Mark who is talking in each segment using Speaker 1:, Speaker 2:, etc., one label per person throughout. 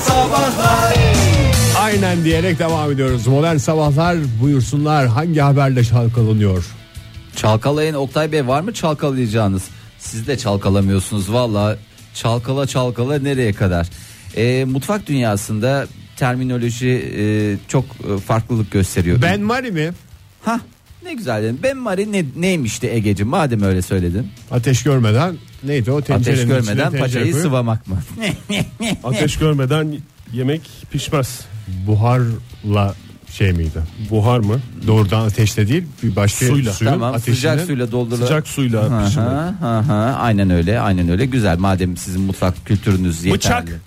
Speaker 1: Sabahlar
Speaker 2: Aynen diyerek devam ediyoruz. Modern sabahlar buyursunlar hangi haberle şalkalanıyor?
Speaker 3: Çalkalayın Oktay Bey var mı çalkalayacağınız? Siz de çalkalamıyorsunuz valla. Çalkala çalkala nereye kadar? E, mutfak dünyasında terminoloji e, çok e, farklılık gösteriyor.
Speaker 2: Ben Mari mi?
Speaker 3: ha ne güzel dedin. Ben Mari ne, neymişti Ege'cim madem öyle söyledin.
Speaker 2: Ateş görmeden neydi o tencerenin
Speaker 3: Ateş
Speaker 2: içine
Speaker 3: görmeden
Speaker 2: tencere
Speaker 3: paçayı
Speaker 2: koyup
Speaker 3: sıvamak mı?
Speaker 4: Ateş görmeden yemek pişmez.
Speaker 2: Buharla şey miydi?
Speaker 4: Buhar mı?
Speaker 2: Doğrudan ateşle değil bir başka
Speaker 4: Suyla.
Speaker 2: suyun
Speaker 3: tamam
Speaker 2: ateşine
Speaker 3: sıcak suyla doldurulur.
Speaker 4: Sıcak suyla
Speaker 3: Aha,
Speaker 4: pişirmek.
Speaker 3: aha, aynen öyle aynen öyle güzel madem sizin mutfak kültürünüz yeterli.
Speaker 4: Bıçak.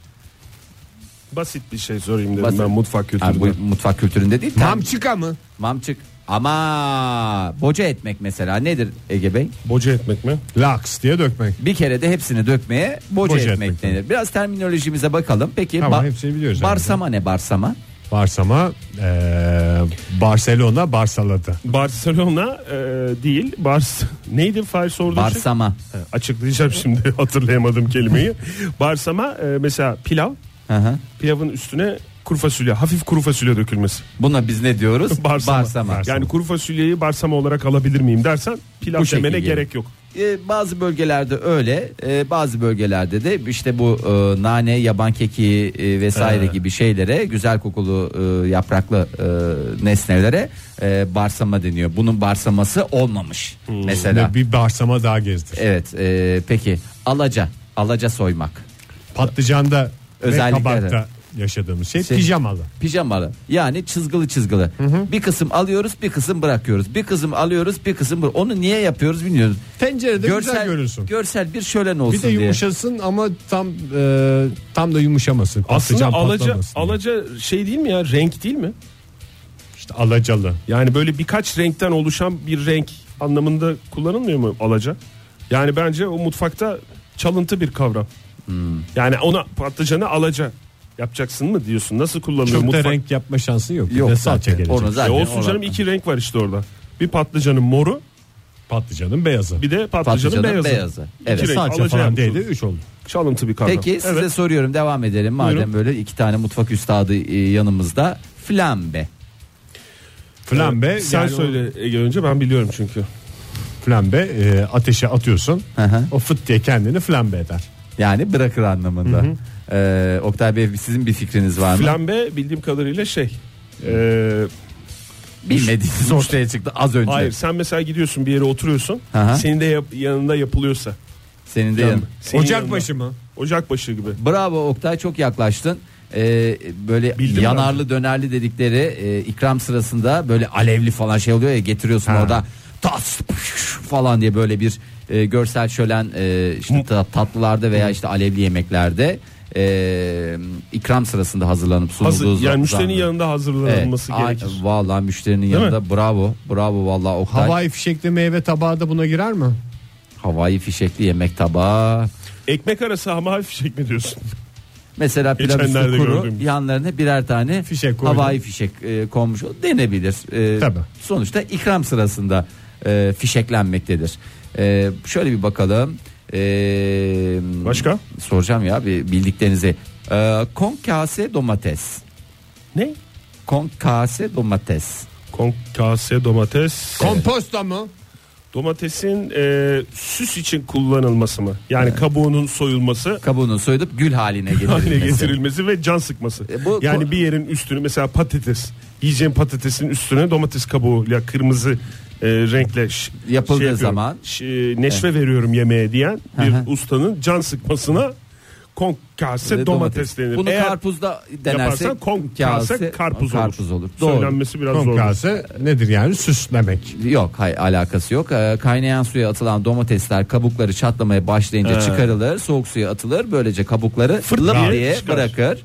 Speaker 4: Basit bir şey sorayım dedim
Speaker 3: Basit.
Speaker 4: ben mutfak
Speaker 3: Ha,
Speaker 4: kültüründe.
Speaker 3: bu mutfak kültüründe değil. Tam
Speaker 2: Mamçıka mı?
Speaker 3: Mamçık. Ama boca etmek mesela nedir Ege Bey?
Speaker 4: Boca etmek mi?
Speaker 2: Laks diye dökmek.
Speaker 3: Bir kere de hepsini dökmeye boca,
Speaker 2: Boca
Speaker 3: etmek,
Speaker 2: etmek
Speaker 3: denir. Biraz terminolojimize bakalım. Peki
Speaker 2: Tamam, hepsini biliyoruz
Speaker 3: barsama ne barsama?
Speaker 2: Barsama eee, Barcelona Barsaladı.
Speaker 4: Barcelona e, değil. Bars neydi Fahir sorduğun şey?
Speaker 3: Barsama.
Speaker 4: Ha, Açıklayacağım şimdi hatırlayamadım kelimeyi. Barsama e, mesela pilav.
Speaker 3: Hı hı.
Speaker 4: Pilavın üstüne kuru fasulye, hafif kuru fasulye dökülmesi.
Speaker 3: Buna biz ne diyoruz?
Speaker 4: Barsama.
Speaker 3: barsama.
Speaker 4: Yani kuru fasulyeyi barsama olarak alabilir miyim dersen pilav
Speaker 3: Bu
Speaker 4: demene
Speaker 3: şekilde.
Speaker 4: gerek yok.
Speaker 3: Ee, bazı bölgelerde öyle, e, bazı bölgelerde de işte bu e, nane, yaban keki e, vesaire gibi şeylere, güzel kokulu e, yapraklı e, nesnelere e, barsama deniyor. Bunun barsaması olmamış mesela.
Speaker 2: Ve bir barsama daha gezdi.
Speaker 3: Evet e, peki alaca alaca soymak
Speaker 2: Patlıcanda
Speaker 3: Özellikle
Speaker 2: ve kabakta yaşadığımız şey,
Speaker 3: Şey-
Speaker 2: pijamalı.
Speaker 3: pijamalı yani çizgılı çizgılı bir kısım alıyoruz bir kısım bırakıyoruz bir kısım alıyoruz bir kısım bıra- onu niye yapıyoruz bilmiyoruz.
Speaker 2: Tencerede güzel görünsün.
Speaker 3: Görsel bir şölen olsun
Speaker 2: Bir de
Speaker 3: diye.
Speaker 2: yumuşasın ama tam e, tam da yumuşamasın.
Speaker 4: Aslında
Speaker 2: Patlıcan
Speaker 4: alaca,
Speaker 2: patlamasın.
Speaker 4: alaca şey değil mi ya renk değil mi?
Speaker 2: İşte alacalı.
Speaker 4: Yani böyle birkaç renkten oluşan bir renk anlamında kullanılmıyor mu alaca? Yani bence o mutfakta çalıntı bir kavram. Yani ona patlıcanı alaca yapacaksın mı diyorsun? Nasıl kullanılıyor
Speaker 2: Çok
Speaker 4: mutfak?
Speaker 2: da renk yapma şansın yok.
Speaker 3: Yok
Speaker 2: bir de salça
Speaker 3: zaten.
Speaker 2: gelecek.
Speaker 3: Onu
Speaker 4: E
Speaker 3: zaten
Speaker 4: olsun
Speaker 3: ona-
Speaker 4: canım iki renk var işte orada. Bir patlıcanın moru
Speaker 2: Patlıcanın beyazı.
Speaker 4: bir de patlıcanın,
Speaker 3: patlıcanın beyazı.
Speaker 4: beyazı.
Speaker 3: Evet.
Speaker 4: İki renk
Speaker 2: salça
Speaker 4: alaca
Speaker 2: falan
Speaker 4: yapmış
Speaker 2: değil de
Speaker 4: olduk.
Speaker 2: 3 oldu.
Speaker 4: Çalıntı bir kavram.
Speaker 3: Peki size
Speaker 4: Evet.
Speaker 3: soruyorum devam edelim madem
Speaker 4: Buyurun.
Speaker 3: böyle iki tane mutfak üstadı e, yanımızda flambe.
Speaker 2: Flambe
Speaker 4: Sen
Speaker 2: yani o-
Speaker 4: söyle Ege önce e, ben biliyorum çünkü.
Speaker 2: Flambe e, ateşe atıyorsun.
Speaker 3: Hı hı.
Speaker 2: O fıt diye kendini flambe eder.
Speaker 3: Yani bırakır anlamında. Ee, Oktay Bey sizin bir fikriniz var mı?
Speaker 4: Flambe bildiğim kadarıyla şey. Eee
Speaker 3: Bilmediğiniz ortaya çıktı az önce.
Speaker 4: Hayır sen mesela gidiyorsun bir yere oturuyorsun.
Speaker 3: Aha.
Speaker 4: Senin de yap- yanında yapılıyorsa.
Speaker 3: Senin de yan-
Speaker 4: Senin yanında.
Speaker 2: mı?
Speaker 4: Ocakbaşı gibi.
Speaker 3: Bravo Oktay çok yaklaştın. Ee, böyle
Speaker 4: Bildim
Speaker 3: yanarlı dönerli dedikleri e, ikram sırasında böyle alevli falan şey oluyor ya getiriyorsun orada tas püş falan diye böyle bir e, görsel şölen e, işte ta- tatlılarda veya işte alevli yemeklerde e, ikram sırasında hazırlanıp sunulduğu
Speaker 4: Hazır, yani
Speaker 3: zaman-
Speaker 4: müşterinin
Speaker 3: zaman-
Speaker 4: yanında hazırlanılması
Speaker 3: Evet. Ay,
Speaker 4: gerekir.
Speaker 3: Vallahi müşterinin yanında bravo bravo vallahi Oktay.
Speaker 2: Havai fişekli meyve tabağı da buna girer mi?
Speaker 3: Havai fişekli yemek tabağı.
Speaker 4: Ekmek arası ama fişek mi diyorsun?
Speaker 3: Mesela pilav üstü
Speaker 4: Geçenlerde
Speaker 3: kuru
Speaker 4: gördüğümüz.
Speaker 3: yanlarına birer tane
Speaker 2: Fişek koydum.
Speaker 3: havai fişek e, konmuş o denebilir. E,
Speaker 2: Tabii.
Speaker 3: Sonuçta ikram sırasında e, fişeklenmektedir. E, şöyle bir bakalım. E,
Speaker 4: Başka?
Speaker 3: Soracağım ya bir bildiklerinizi. E, konkase domates.
Speaker 4: Ne?
Speaker 3: Konkase domates.
Speaker 4: Konkase domates.
Speaker 2: Komposta mı?
Speaker 4: Domatesin e, süs için kullanılması mı? Yani kabuğunun soyulması,
Speaker 3: Kabuğunu soyulup gül haline
Speaker 4: haline
Speaker 3: getirilmesi.
Speaker 4: getirilmesi ve can sıkması.
Speaker 3: E, bu-
Speaker 4: yani bir yerin üstünü mesela patates, yiyeceğin patatesin üstüne domates kabuğuyla kırmızı e, renkle ş-
Speaker 3: Yapıldığı
Speaker 4: yapıyorum.
Speaker 3: zaman-
Speaker 4: Ş- e, neşve veriyorum yemeğe diyen bir
Speaker 3: Hı hı.
Speaker 4: ustanın can sıkmasına konkase domates, denir.
Speaker 3: Bunu
Speaker 4: Eğer
Speaker 3: karpuzda denerse
Speaker 4: yaparsan konkase karpuz, olur.
Speaker 3: Doğru.
Speaker 4: Söylenmesi biraz zor.
Speaker 2: Komkase nedir yani? Süslemek.
Speaker 3: Yok hayır alakası yok. Ee, kaynayan suya atılan domatesler kabukları çatlamaya başlayınca çıkarılır. Soğuk suya atılır. Böylece kabukları lap
Speaker 4: diye
Speaker 3: diye
Speaker 4: çıkar.
Speaker 3: bırakır.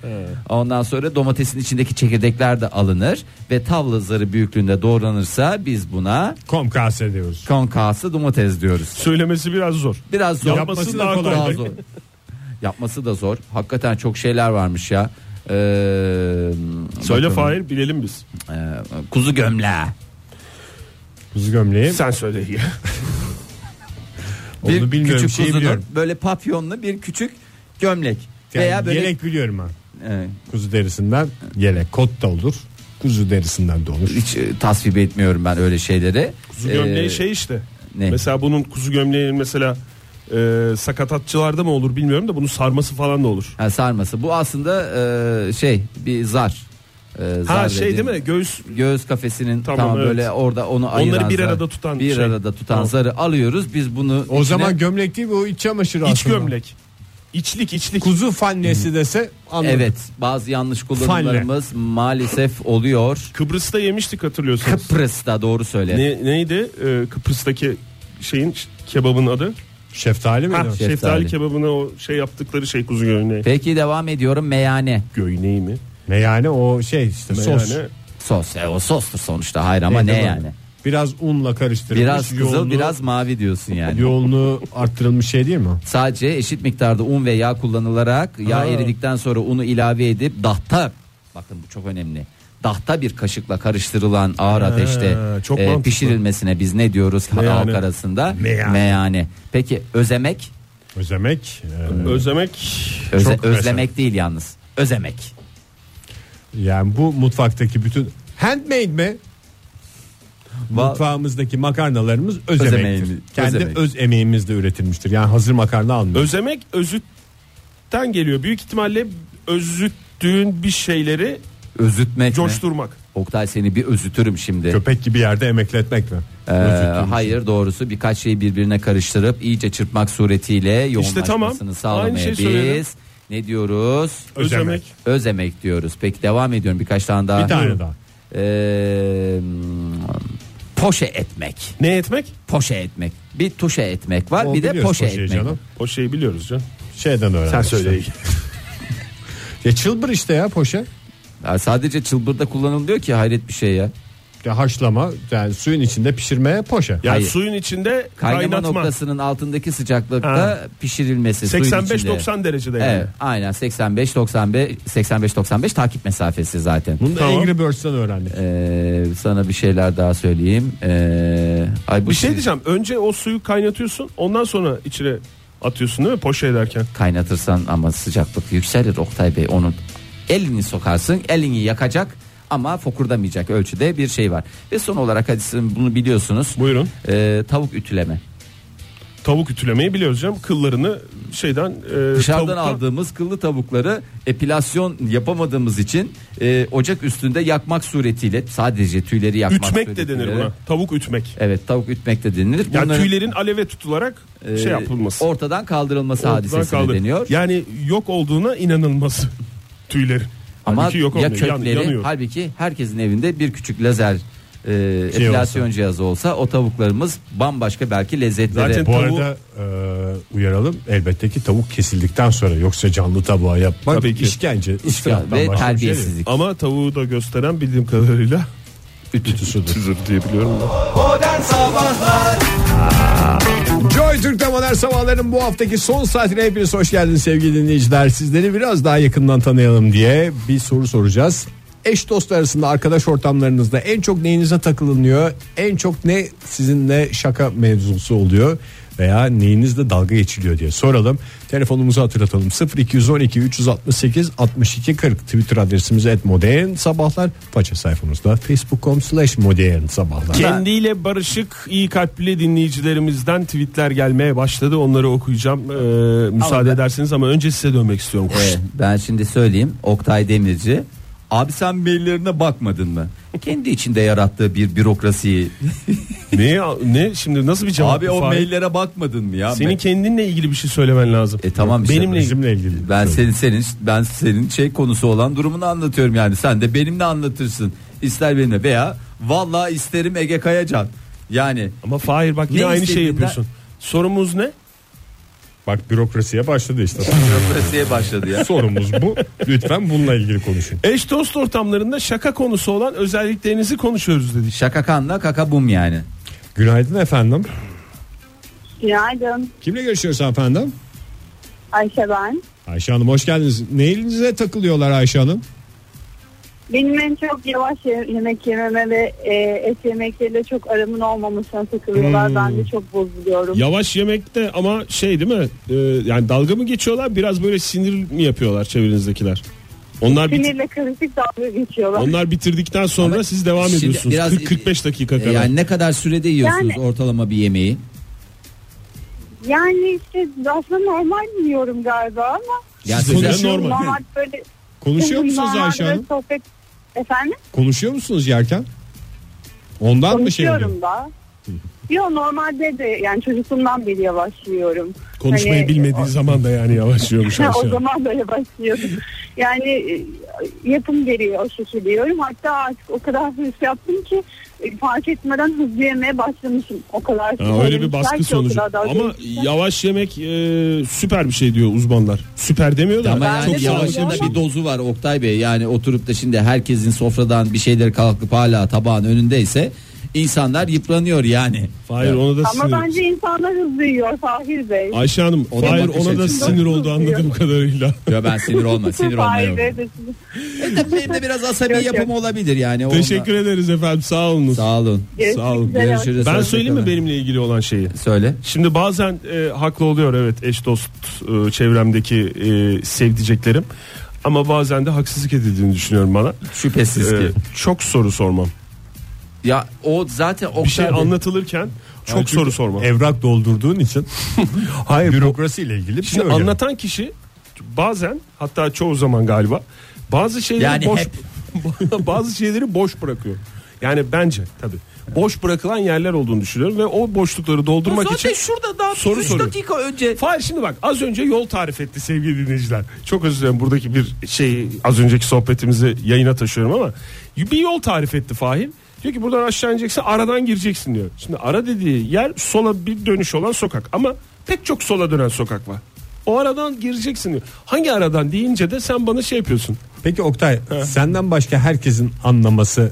Speaker 3: Ondan sonra domatesin içindeki çekirdekler de alınır ve tavla zarı büyüklüğünde doğranırsa biz buna
Speaker 2: Komkase diyoruz.
Speaker 3: konkası domates diyoruz.
Speaker 4: Söylemesi biraz zor.
Speaker 3: Biraz zor.
Speaker 4: Yapması daha kolay.
Speaker 3: zor. Yapması da zor. Hakikaten çok şeyler varmış ya. Ee, bakalım.
Speaker 4: Söyle Fahir bilelim biz.
Speaker 3: Ee, kuzu gömle.
Speaker 2: Kuzu gömleği.
Speaker 4: Sen söyle.
Speaker 2: Onu
Speaker 3: bir
Speaker 2: bilmiyorum,
Speaker 3: küçük
Speaker 2: şeyi
Speaker 3: kuzunun
Speaker 2: biliyorum.
Speaker 3: böyle papyonlu bir küçük gömlek
Speaker 2: Yani
Speaker 3: veya böyle
Speaker 2: yelek biliyorum ben.
Speaker 3: e,
Speaker 2: Kuzu derisinden yelek kot da olur. Kuzu derisinden de olur.
Speaker 3: hiç e, tasvip etmiyorum ben öyle şeyleri.
Speaker 4: Kuzu gömleği
Speaker 3: Ee,
Speaker 4: şey işte.
Speaker 3: ne?
Speaker 4: Mesela bunun kuzu gömleğinin mesela e, sakatatçılarda mı olur bilmiyorum da bunun sarması falan da olur.
Speaker 3: Ha, sarması. Bu aslında e, şey bir zar. E,
Speaker 4: Ha
Speaker 3: zar
Speaker 4: şey
Speaker 3: dediğim-
Speaker 4: değil mi? Göğüs
Speaker 3: Göğüs kafesinin tamam,
Speaker 4: Tamam, evet.
Speaker 3: böyle orada onu ayıran
Speaker 4: bir
Speaker 3: zar-
Speaker 4: arada tutan
Speaker 3: bir
Speaker 4: şey.
Speaker 3: arada tutan
Speaker 4: Tamam.
Speaker 3: zarı alıyoruz. Biz bunu
Speaker 2: O zaman gömlek değil bu iç çamaşırı
Speaker 4: iç
Speaker 2: aslında.
Speaker 4: gömlek. İçlik içlik.
Speaker 2: Kuzu fannesi dese anladım.
Speaker 3: Evet bazı yanlış kullanımlarımız maalesef oluyor.
Speaker 4: Kıbrıs'ta yemiştik hatırlıyorsunuz.
Speaker 3: Kıbrıs'ta doğru söyle.
Speaker 4: Ne, neydi e, Kıbrıs'taki şeyin kebabın adı?
Speaker 2: Şeftali mi?
Speaker 4: Ha,
Speaker 2: Evet.
Speaker 4: şeftali. kebabına o şey yaptıkları şey kuzu göğneği.
Speaker 3: Peki devam ediyorum meyane
Speaker 4: Göğneği mi?
Speaker 2: Meyane o şey işte sos.
Speaker 4: Yani
Speaker 3: sos. E, o sostur sonuçta hayır
Speaker 4: E,
Speaker 3: ama ne
Speaker 2: Neydi lan?
Speaker 3: yani?
Speaker 2: Biraz unla karıştırılmış.
Speaker 3: Biraz kızıl
Speaker 2: yoğunluğu-
Speaker 3: biraz mavi diyorsun yani.
Speaker 2: yoğunluğu arttırılmış şey değil mi?
Speaker 3: Sadece eşit miktarda un ve yağ kullanılarak yağ
Speaker 4: Ha.
Speaker 3: eridikten sonra unu ilave edip dahta bakın bu çok önemli. Dahta bir kaşıkla karıştırılan ağır ateşte
Speaker 4: çok
Speaker 3: e,
Speaker 4: mantıklı.
Speaker 3: pişirilmesine biz ne diyoruz
Speaker 4: Meyane.
Speaker 3: halk arasında?
Speaker 2: Meyane.
Speaker 3: Peki özemek?
Speaker 2: Özemek. e,
Speaker 4: Özlemek
Speaker 3: Öze-
Speaker 2: Çok
Speaker 3: özlemek değil yalnız. Özemek.
Speaker 2: yani bu mutfaktaki bütün handmade mi?
Speaker 3: Va-
Speaker 2: Mutfağımızdaki makarnalarımız öz,
Speaker 3: Öz
Speaker 2: emektir.
Speaker 3: emeğimiz-
Speaker 2: Kendi
Speaker 3: öz emek.
Speaker 2: öz emeğimizle üretilmiştir. Yani hazır makarna almıyoruz.
Speaker 4: Özemek özütten geliyor. Büyük ihtimalle özüttüğün bir şeyleri
Speaker 3: Özütmek mi?
Speaker 4: coşturmak.
Speaker 3: Oktay seni bir özütürüm şimdi.
Speaker 2: Köpek gibi yerde emekletmek mi?
Speaker 3: Ee, hayır doğrusu birkaç şeyi birbirine karıştırıp iyice çırpmak suretiyle yoğunlaşmasını
Speaker 4: tamam.
Speaker 3: sağlamaya
Speaker 4: Aynı şey
Speaker 3: biz
Speaker 4: söyledim.
Speaker 3: ne diyoruz?
Speaker 2: Özemek.
Speaker 4: Özemek.
Speaker 3: Öz emek diyoruz. Peki devam ediyorum birkaç tane daha.
Speaker 2: Bir tane daha.
Speaker 3: Ee, poşe etmek.
Speaker 4: Ne etmek?
Speaker 3: Poşe etmek. Bir tuşe etmek var
Speaker 2: O
Speaker 3: bir de
Speaker 2: biliyoruz
Speaker 3: poşe
Speaker 2: poşeyi
Speaker 3: etmek.
Speaker 2: canım.
Speaker 4: O şeyi biliyoruz canım.
Speaker 2: Şeyden öğrendim. işte. Ya çılbır işte ya poşe.
Speaker 3: Ya sadece çılbırda kullanılıyor ki hayret bir şey ya.
Speaker 2: Ya haşlama yani suyun içinde pişirmeye poşe.
Speaker 4: Yani
Speaker 3: Hayır.
Speaker 4: suyun içinde
Speaker 3: Kaynama
Speaker 4: kaynatma.
Speaker 3: noktasının altındaki sıcaklıkta
Speaker 4: Ha.
Speaker 3: pişirilmesi suyun içinde.
Speaker 4: 85-90 derecede yani.
Speaker 3: Evet, aynen 85 95 85 95 takip mesafesi zaten.
Speaker 2: Bunu da
Speaker 4: Tamam.
Speaker 2: Angry Birds'ten öğrendik.
Speaker 3: Ee, sana bir şeyler daha söyleyeyim. Ee, ay bu
Speaker 4: Bir şey
Speaker 3: siz-
Speaker 4: diyeceğim. Önce o suyu kaynatıyorsun. Ondan sonra içine atıyorsun değil mi? Poşe ederken.
Speaker 3: kaynatırsan ama sıcaklık yükselir Oktay Bey onun elini sokarsın elini yakacak ama fokurdamayacak ölçüde bir şey var ve son olarak hadi sizin bunu biliyorsunuz
Speaker 4: Buyurun.
Speaker 3: Ee, tavuk
Speaker 4: E,
Speaker 3: ütüleme
Speaker 4: Tavuk ütülemeyi biliyoruz canım. Kıllarını şeyden e,
Speaker 3: dışarıdan
Speaker 4: tavuktan-
Speaker 3: aldığımız kıllı tavukları epilasyon yapamadığımız için e, ocak üstünde yakmak suretiyle sadece tüyleri yakmak
Speaker 4: Ütmek de denir
Speaker 3: suretiyle-
Speaker 4: buna. Tavuk ütmek.
Speaker 3: Evet tavuk ütmek de denilir.
Speaker 4: Yani
Speaker 3: Bunların,
Speaker 4: tüylerin aleve tutularak
Speaker 3: e,
Speaker 4: şey yapılması.
Speaker 3: Ortadan kaldırılması
Speaker 4: Ortadan
Speaker 3: hadisesi de
Speaker 4: kaldır.
Speaker 3: deniyor.
Speaker 4: Yani yok olduğuna inanılması tüylerin.
Speaker 3: Ama
Speaker 4: Halbuki yok
Speaker 3: ya
Speaker 4: olmuyor. Yan-
Speaker 3: kökleri
Speaker 4: yanıyor.
Speaker 3: halbuki herkesin evinde bir küçük lazer e,
Speaker 4: Şey
Speaker 3: epilasyon cihazı olsa o tavuklarımız bambaşka belki lezzetlere.
Speaker 4: Zaten-
Speaker 2: Bu
Speaker 4: Tavuğu-
Speaker 2: arada e, uyaralım elbette ki tavuk kesildikten sonra yoksa canlı tabağa yapmak
Speaker 4: Tabii ki.
Speaker 2: işkence, ıstıraptan
Speaker 3: ve
Speaker 2: başka bir şey değil.
Speaker 3: terbiyesizlik.
Speaker 4: Ama tavuğu da gösteren bildiğim kadarıyla
Speaker 2: Ütüsüdür.
Speaker 4: tüzür diye biliyorum.
Speaker 2: Joy Türk'te modern sabahların bu haftaki son saatine hepiniz hoş geldiniz sevgili dinleyiciler. Sizleri biraz daha yakından tanıyalım diye bir soru soracağız. Eş dost arasında arkadaş ortamlarınızda en çok neyinize takılınıyor? En çok ne sizinle şaka mevzusu oluyor? Veya neyinizle dalga geçiliyor diye soralım. Telefonumuzu hatırlatalım. 0212 368 62 40 Twitter adresimiz et modern sabahlar. Faça sayfamızda facebook.com slash modern sabahlar.
Speaker 4: Kendiyle barışık iyi kalpli dinleyicilerimizden tweetler gelmeye başladı. Onları okuyacağım. Ee, müsaade
Speaker 3: ben-
Speaker 4: ederseniz ama önce size dönmek istiyorum.
Speaker 3: E, ben şimdi söyleyeyim Oktay Demirci. Abi sen maillerine bakmadın mı? Kendi içinde yarattığı bir bürokrasiyi.
Speaker 4: ne ne şimdi nasıl bir cevap?
Speaker 3: Abi
Speaker 4: bu
Speaker 3: o
Speaker 4: Fahir?
Speaker 3: maillere bakmadın mı ya?
Speaker 4: senin
Speaker 3: Ben-
Speaker 4: kendinle ilgili bir şey söylemen lazım.
Speaker 3: E tamam işte
Speaker 4: Benimle ilgili.
Speaker 2: Bizimle ilgili.
Speaker 3: Ben senin senin ben senin şey konusu olan durumunu anlatıyorum yani. Sen de benimle anlatırsın. İster benimle veya vallahi isterim Ege Kayacan. Yani
Speaker 4: Ama Fahir bak yine
Speaker 3: Ne
Speaker 4: aynı şeyi
Speaker 3: istediğinden-
Speaker 4: yapıyorsun. Sorumuz ne?
Speaker 2: Bak bürokrasiye başladı işte.
Speaker 3: bürokrasiye başladı ya.
Speaker 2: Sorumuz bu. Lütfen bununla ilgili konuşun.
Speaker 4: Eş dost ortamlarında şaka konusu olan özelliklerinizi konuşuyoruz dedik.
Speaker 3: Şaka kanla kaka bum yani.
Speaker 2: Günaydın efendim.
Speaker 5: Günaydın
Speaker 2: Kimle görüşüyoruz efendim?
Speaker 5: Ayşe ben.
Speaker 2: Ayşe Hanım hoş geldiniz. Ne elinize takılıyorlar Ayşe Hanım?
Speaker 5: Benim en çok yavaş ye- yemek yememe ve e, et yemekleriyle çok aramın olmamasına takılıyorlar. Ben de çok bozuluyorum.
Speaker 4: Yavaş yemekte ama şey değil mi? Ee, yani dalga mı geçiyorlar? Biraz böyle sinir mi yapıyorlar çevrenizdekiler?
Speaker 5: Onlar bit-
Speaker 6: Sinirle karışık dalga geçiyorlar.
Speaker 5: onlar bitirdikten sonra
Speaker 3: Ama
Speaker 5: siz devam
Speaker 3: şimdi
Speaker 5: ediyorsunuz.
Speaker 3: biraz-
Speaker 5: 40-45 dakika
Speaker 3: E,
Speaker 5: kadar.
Speaker 3: Yani ne kadar sürede yiyorsunuz
Speaker 6: Yani-
Speaker 3: ortalama bir yemeği?
Speaker 6: Yani işte aslında normal biliyorum galiba ama
Speaker 3: Ya
Speaker 5: Size
Speaker 3: size-
Speaker 5: göre normal.
Speaker 6: normal böyle
Speaker 5: Konuşuyor musunuz
Speaker 6: normal
Speaker 5: Ayşe
Speaker 6: böyle
Speaker 5: Hanım?
Speaker 6: Sohbet... Efendim?
Speaker 5: Konuşuyor musunuz yerken? Ondan mı şey oluyor?
Speaker 6: Konuşuyorum da. Yo normalde de yani çocukluğumdan beri yavaş yiyorum.
Speaker 5: Konuşmayı
Speaker 6: Hani-
Speaker 5: bilmediği zaman da yani yavaşlıyormuş
Speaker 6: Ha,
Speaker 5: Ayşe
Speaker 6: o
Speaker 5: Hanım.
Speaker 6: zaman böyle başlıyordum. Yani e, yapım gereği o şekilde diyorum. Hatta artık o kadar hırs yaptım ki e, fark etmeden hızlı yemeye başlamışım. O kadar
Speaker 5: Ha, öyle bir
Speaker 6: söylemişler
Speaker 5: baskı
Speaker 6: ki o
Speaker 5: sonucu.
Speaker 6: kadar dalga
Speaker 5: Ama
Speaker 6: geçmişler.
Speaker 5: yavaş yemek e, süper bir şey diyor uzmanlar. Süper demiyor da
Speaker 3: Ama
Speaker 6: Ben
Speaker 3: yani
Speaker 5: çok yavaş
Speaker 6: de
Speaker 3: yavaşında
Speaker 6: söylüyorum
Speaker 5: yemek.
Speaker 6: ama-
Speaker 3: bir dozu var Oktay Bey. Yani oturup da şimdi herkesin sofradan bir şeyleri kalkıp hala tabağın önündeyse insanlar yıpranıyor yani.
Speaker 5: Hayır ona da
Speaker 6: Ama
Speaker 5: sinir.
Speaker 6: bence insanlar hızlı yiyor Fahir Bey.
Speaker 5: Ayşe Hanım
Speaker 3: Ona
Speaker 5: hayır
Speaker 3: bakış
Speaker 5: ona da
Speaker 3: açısı.
Speaker 5: sinir oldu anladığım kadarıyla.
Speaker 3: Ya ben sinir olma, sinir olmuyor.
Speaker 6: Fahir Bey de sizi-
Speaker 3: E tabii benim de biraz asabi
Speaker 6: Yok, yok.
Speaker 3: yapım olabilir yani. Onunla-
Speaker 5: Teşekkür ederiz efendim sağ olunuz.
Speaker 3: Sağ olun.
Speaker 6: Görüşmek
Speaker 5: Sağ olun,
Speaker 6: üzere.
Speaker 3: Görüşürüz.
Speaker 5: Ben
Speaker 3: Hoşça
Speaker 5: söyleyeyim mi
Speaker 3: kalın.
Speaker 5: benimle ilgili olan şeyi?
Speaker 3: Söyle.
Speaker 4: Şimdi bazen e, haklı oluyor evet eş dost e, çevremdeki e, sevdiceklerim. Ama bazen de haksızlık edildiğini düşünüyorum bana.
Speaker 3: Şüphesiz
Speaker 4: E,
Speaker 3: ki.
Speaker 4: çok soru sormam.
Speaker 3: Ya o zaten Oktay
Speaker 4: Bir şey
Speaker 3: Bey-
Speaker 4: anlatılırken çok
Speaker 5: Yani çünkü
Speaker 4: soru sormam.
Speaker 5: Evrak doldurduğun için.
Speaker 4: Hayır,
Speaker 5: Bürokrasi ile ilgili bir şey
Speaker 4: Şimdi anlatan kişi bazen hatta çoğu zaman galiba bazı şeyleri
Speaker 3: Yani
Speaker 4: boş
Speaker 3: hep.
Speaker 4: bazı şeyleri boş bırakıyor. Yani bence tabi boş bırakılan yerler olduğunu düşünüyorum ve o boşlukları doldurmak
Speaker 3: Zaten
Speaker 4: için
Speaker 3: şurada daha
Speaker 4: soru
Speaker 3: 3
Speaker 4: soruyor.
Speaker 3: dakika önce
Speaker 4: Fahir şimdi bak az önce yol tarif etti sevgili dinleyiciler. Çok özür dilerim buradaki bir şey az önceki sohbetimizi yayına taşıyorum ama bir yol tarif etti Fahir. Diyor ki buradan aşağı ineceksin aradan gireceksin diyor. Şimdi ara dediği yer sola bir dönüş olan sokak ama pek çok sola dönen sokak var. O aradan gireceksin diyor. Hangi aradan deyince de sen bana şey yapıyorsun.
Speaker 2: Peki Oktay senden başka herkesin anlaması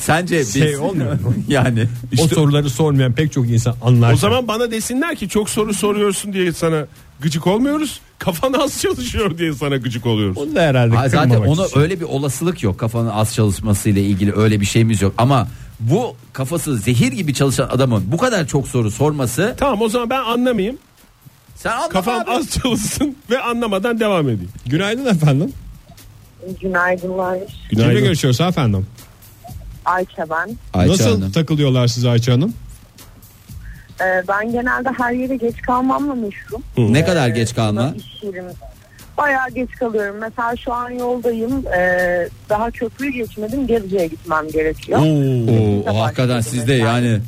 Speaker 3: sence biz
Speaker 2: şey olmuyor mu?
Speaker 3: yani
Speaker 2: o soruları sormayan pek çok insan anlar.
Speaker 4: O zaman bana desinler ki çok soru soruyorsun diye sana gıcık olmuyoruz. Kafan az çalışıyor diye sana gıcık oluyoruz.
Speaker 2: onu da herhalde
Speaker 3: Ha, zaten
Speaker 2: kırmamak
Speaker 3: ona
Speaker 2: için.
Speaker 3: öyle bir olasılık yok kafanın az çalışmasıyla ilgili öyle bir şeyimiz yok ama bu kafası zehir gibi çalışan adamın bu kadar çok soru sorması
Speaker 4: Tamam o zaman ben anlamayayım.
Speaker 3: sen anlama
Speaker 4: Kafam
Speaker 3: abi.
Speaker 4: az çalışsın ve anlamadan devam edeyim.
Speaker 2: Günaydın efendim.
Speaker 6: Günaydınlar.
Speaker 2: Kimle görüşüyoruz efendim?
Speaker 6: Ayça ben.
Speaker 3: Ayça
Speaker 5: Nasıl
Speaker 3: Hanım.
Speaker 5: takılıyorlar size Ayça Hanım?
Speaker 6: Ee, ben genelde her yere geç kalmamla meşhurum.
Speaker 3: ne kadar geç kalma
Speaker 6: İş yerim. Bayağı geç kalıyorum. Mesela şu an yoldayım. Ee, daha köprüyü geçmedim. Gebze'ye gitmem gerekiyor.
Speaker 3: Oo, o hakikaten sizde yani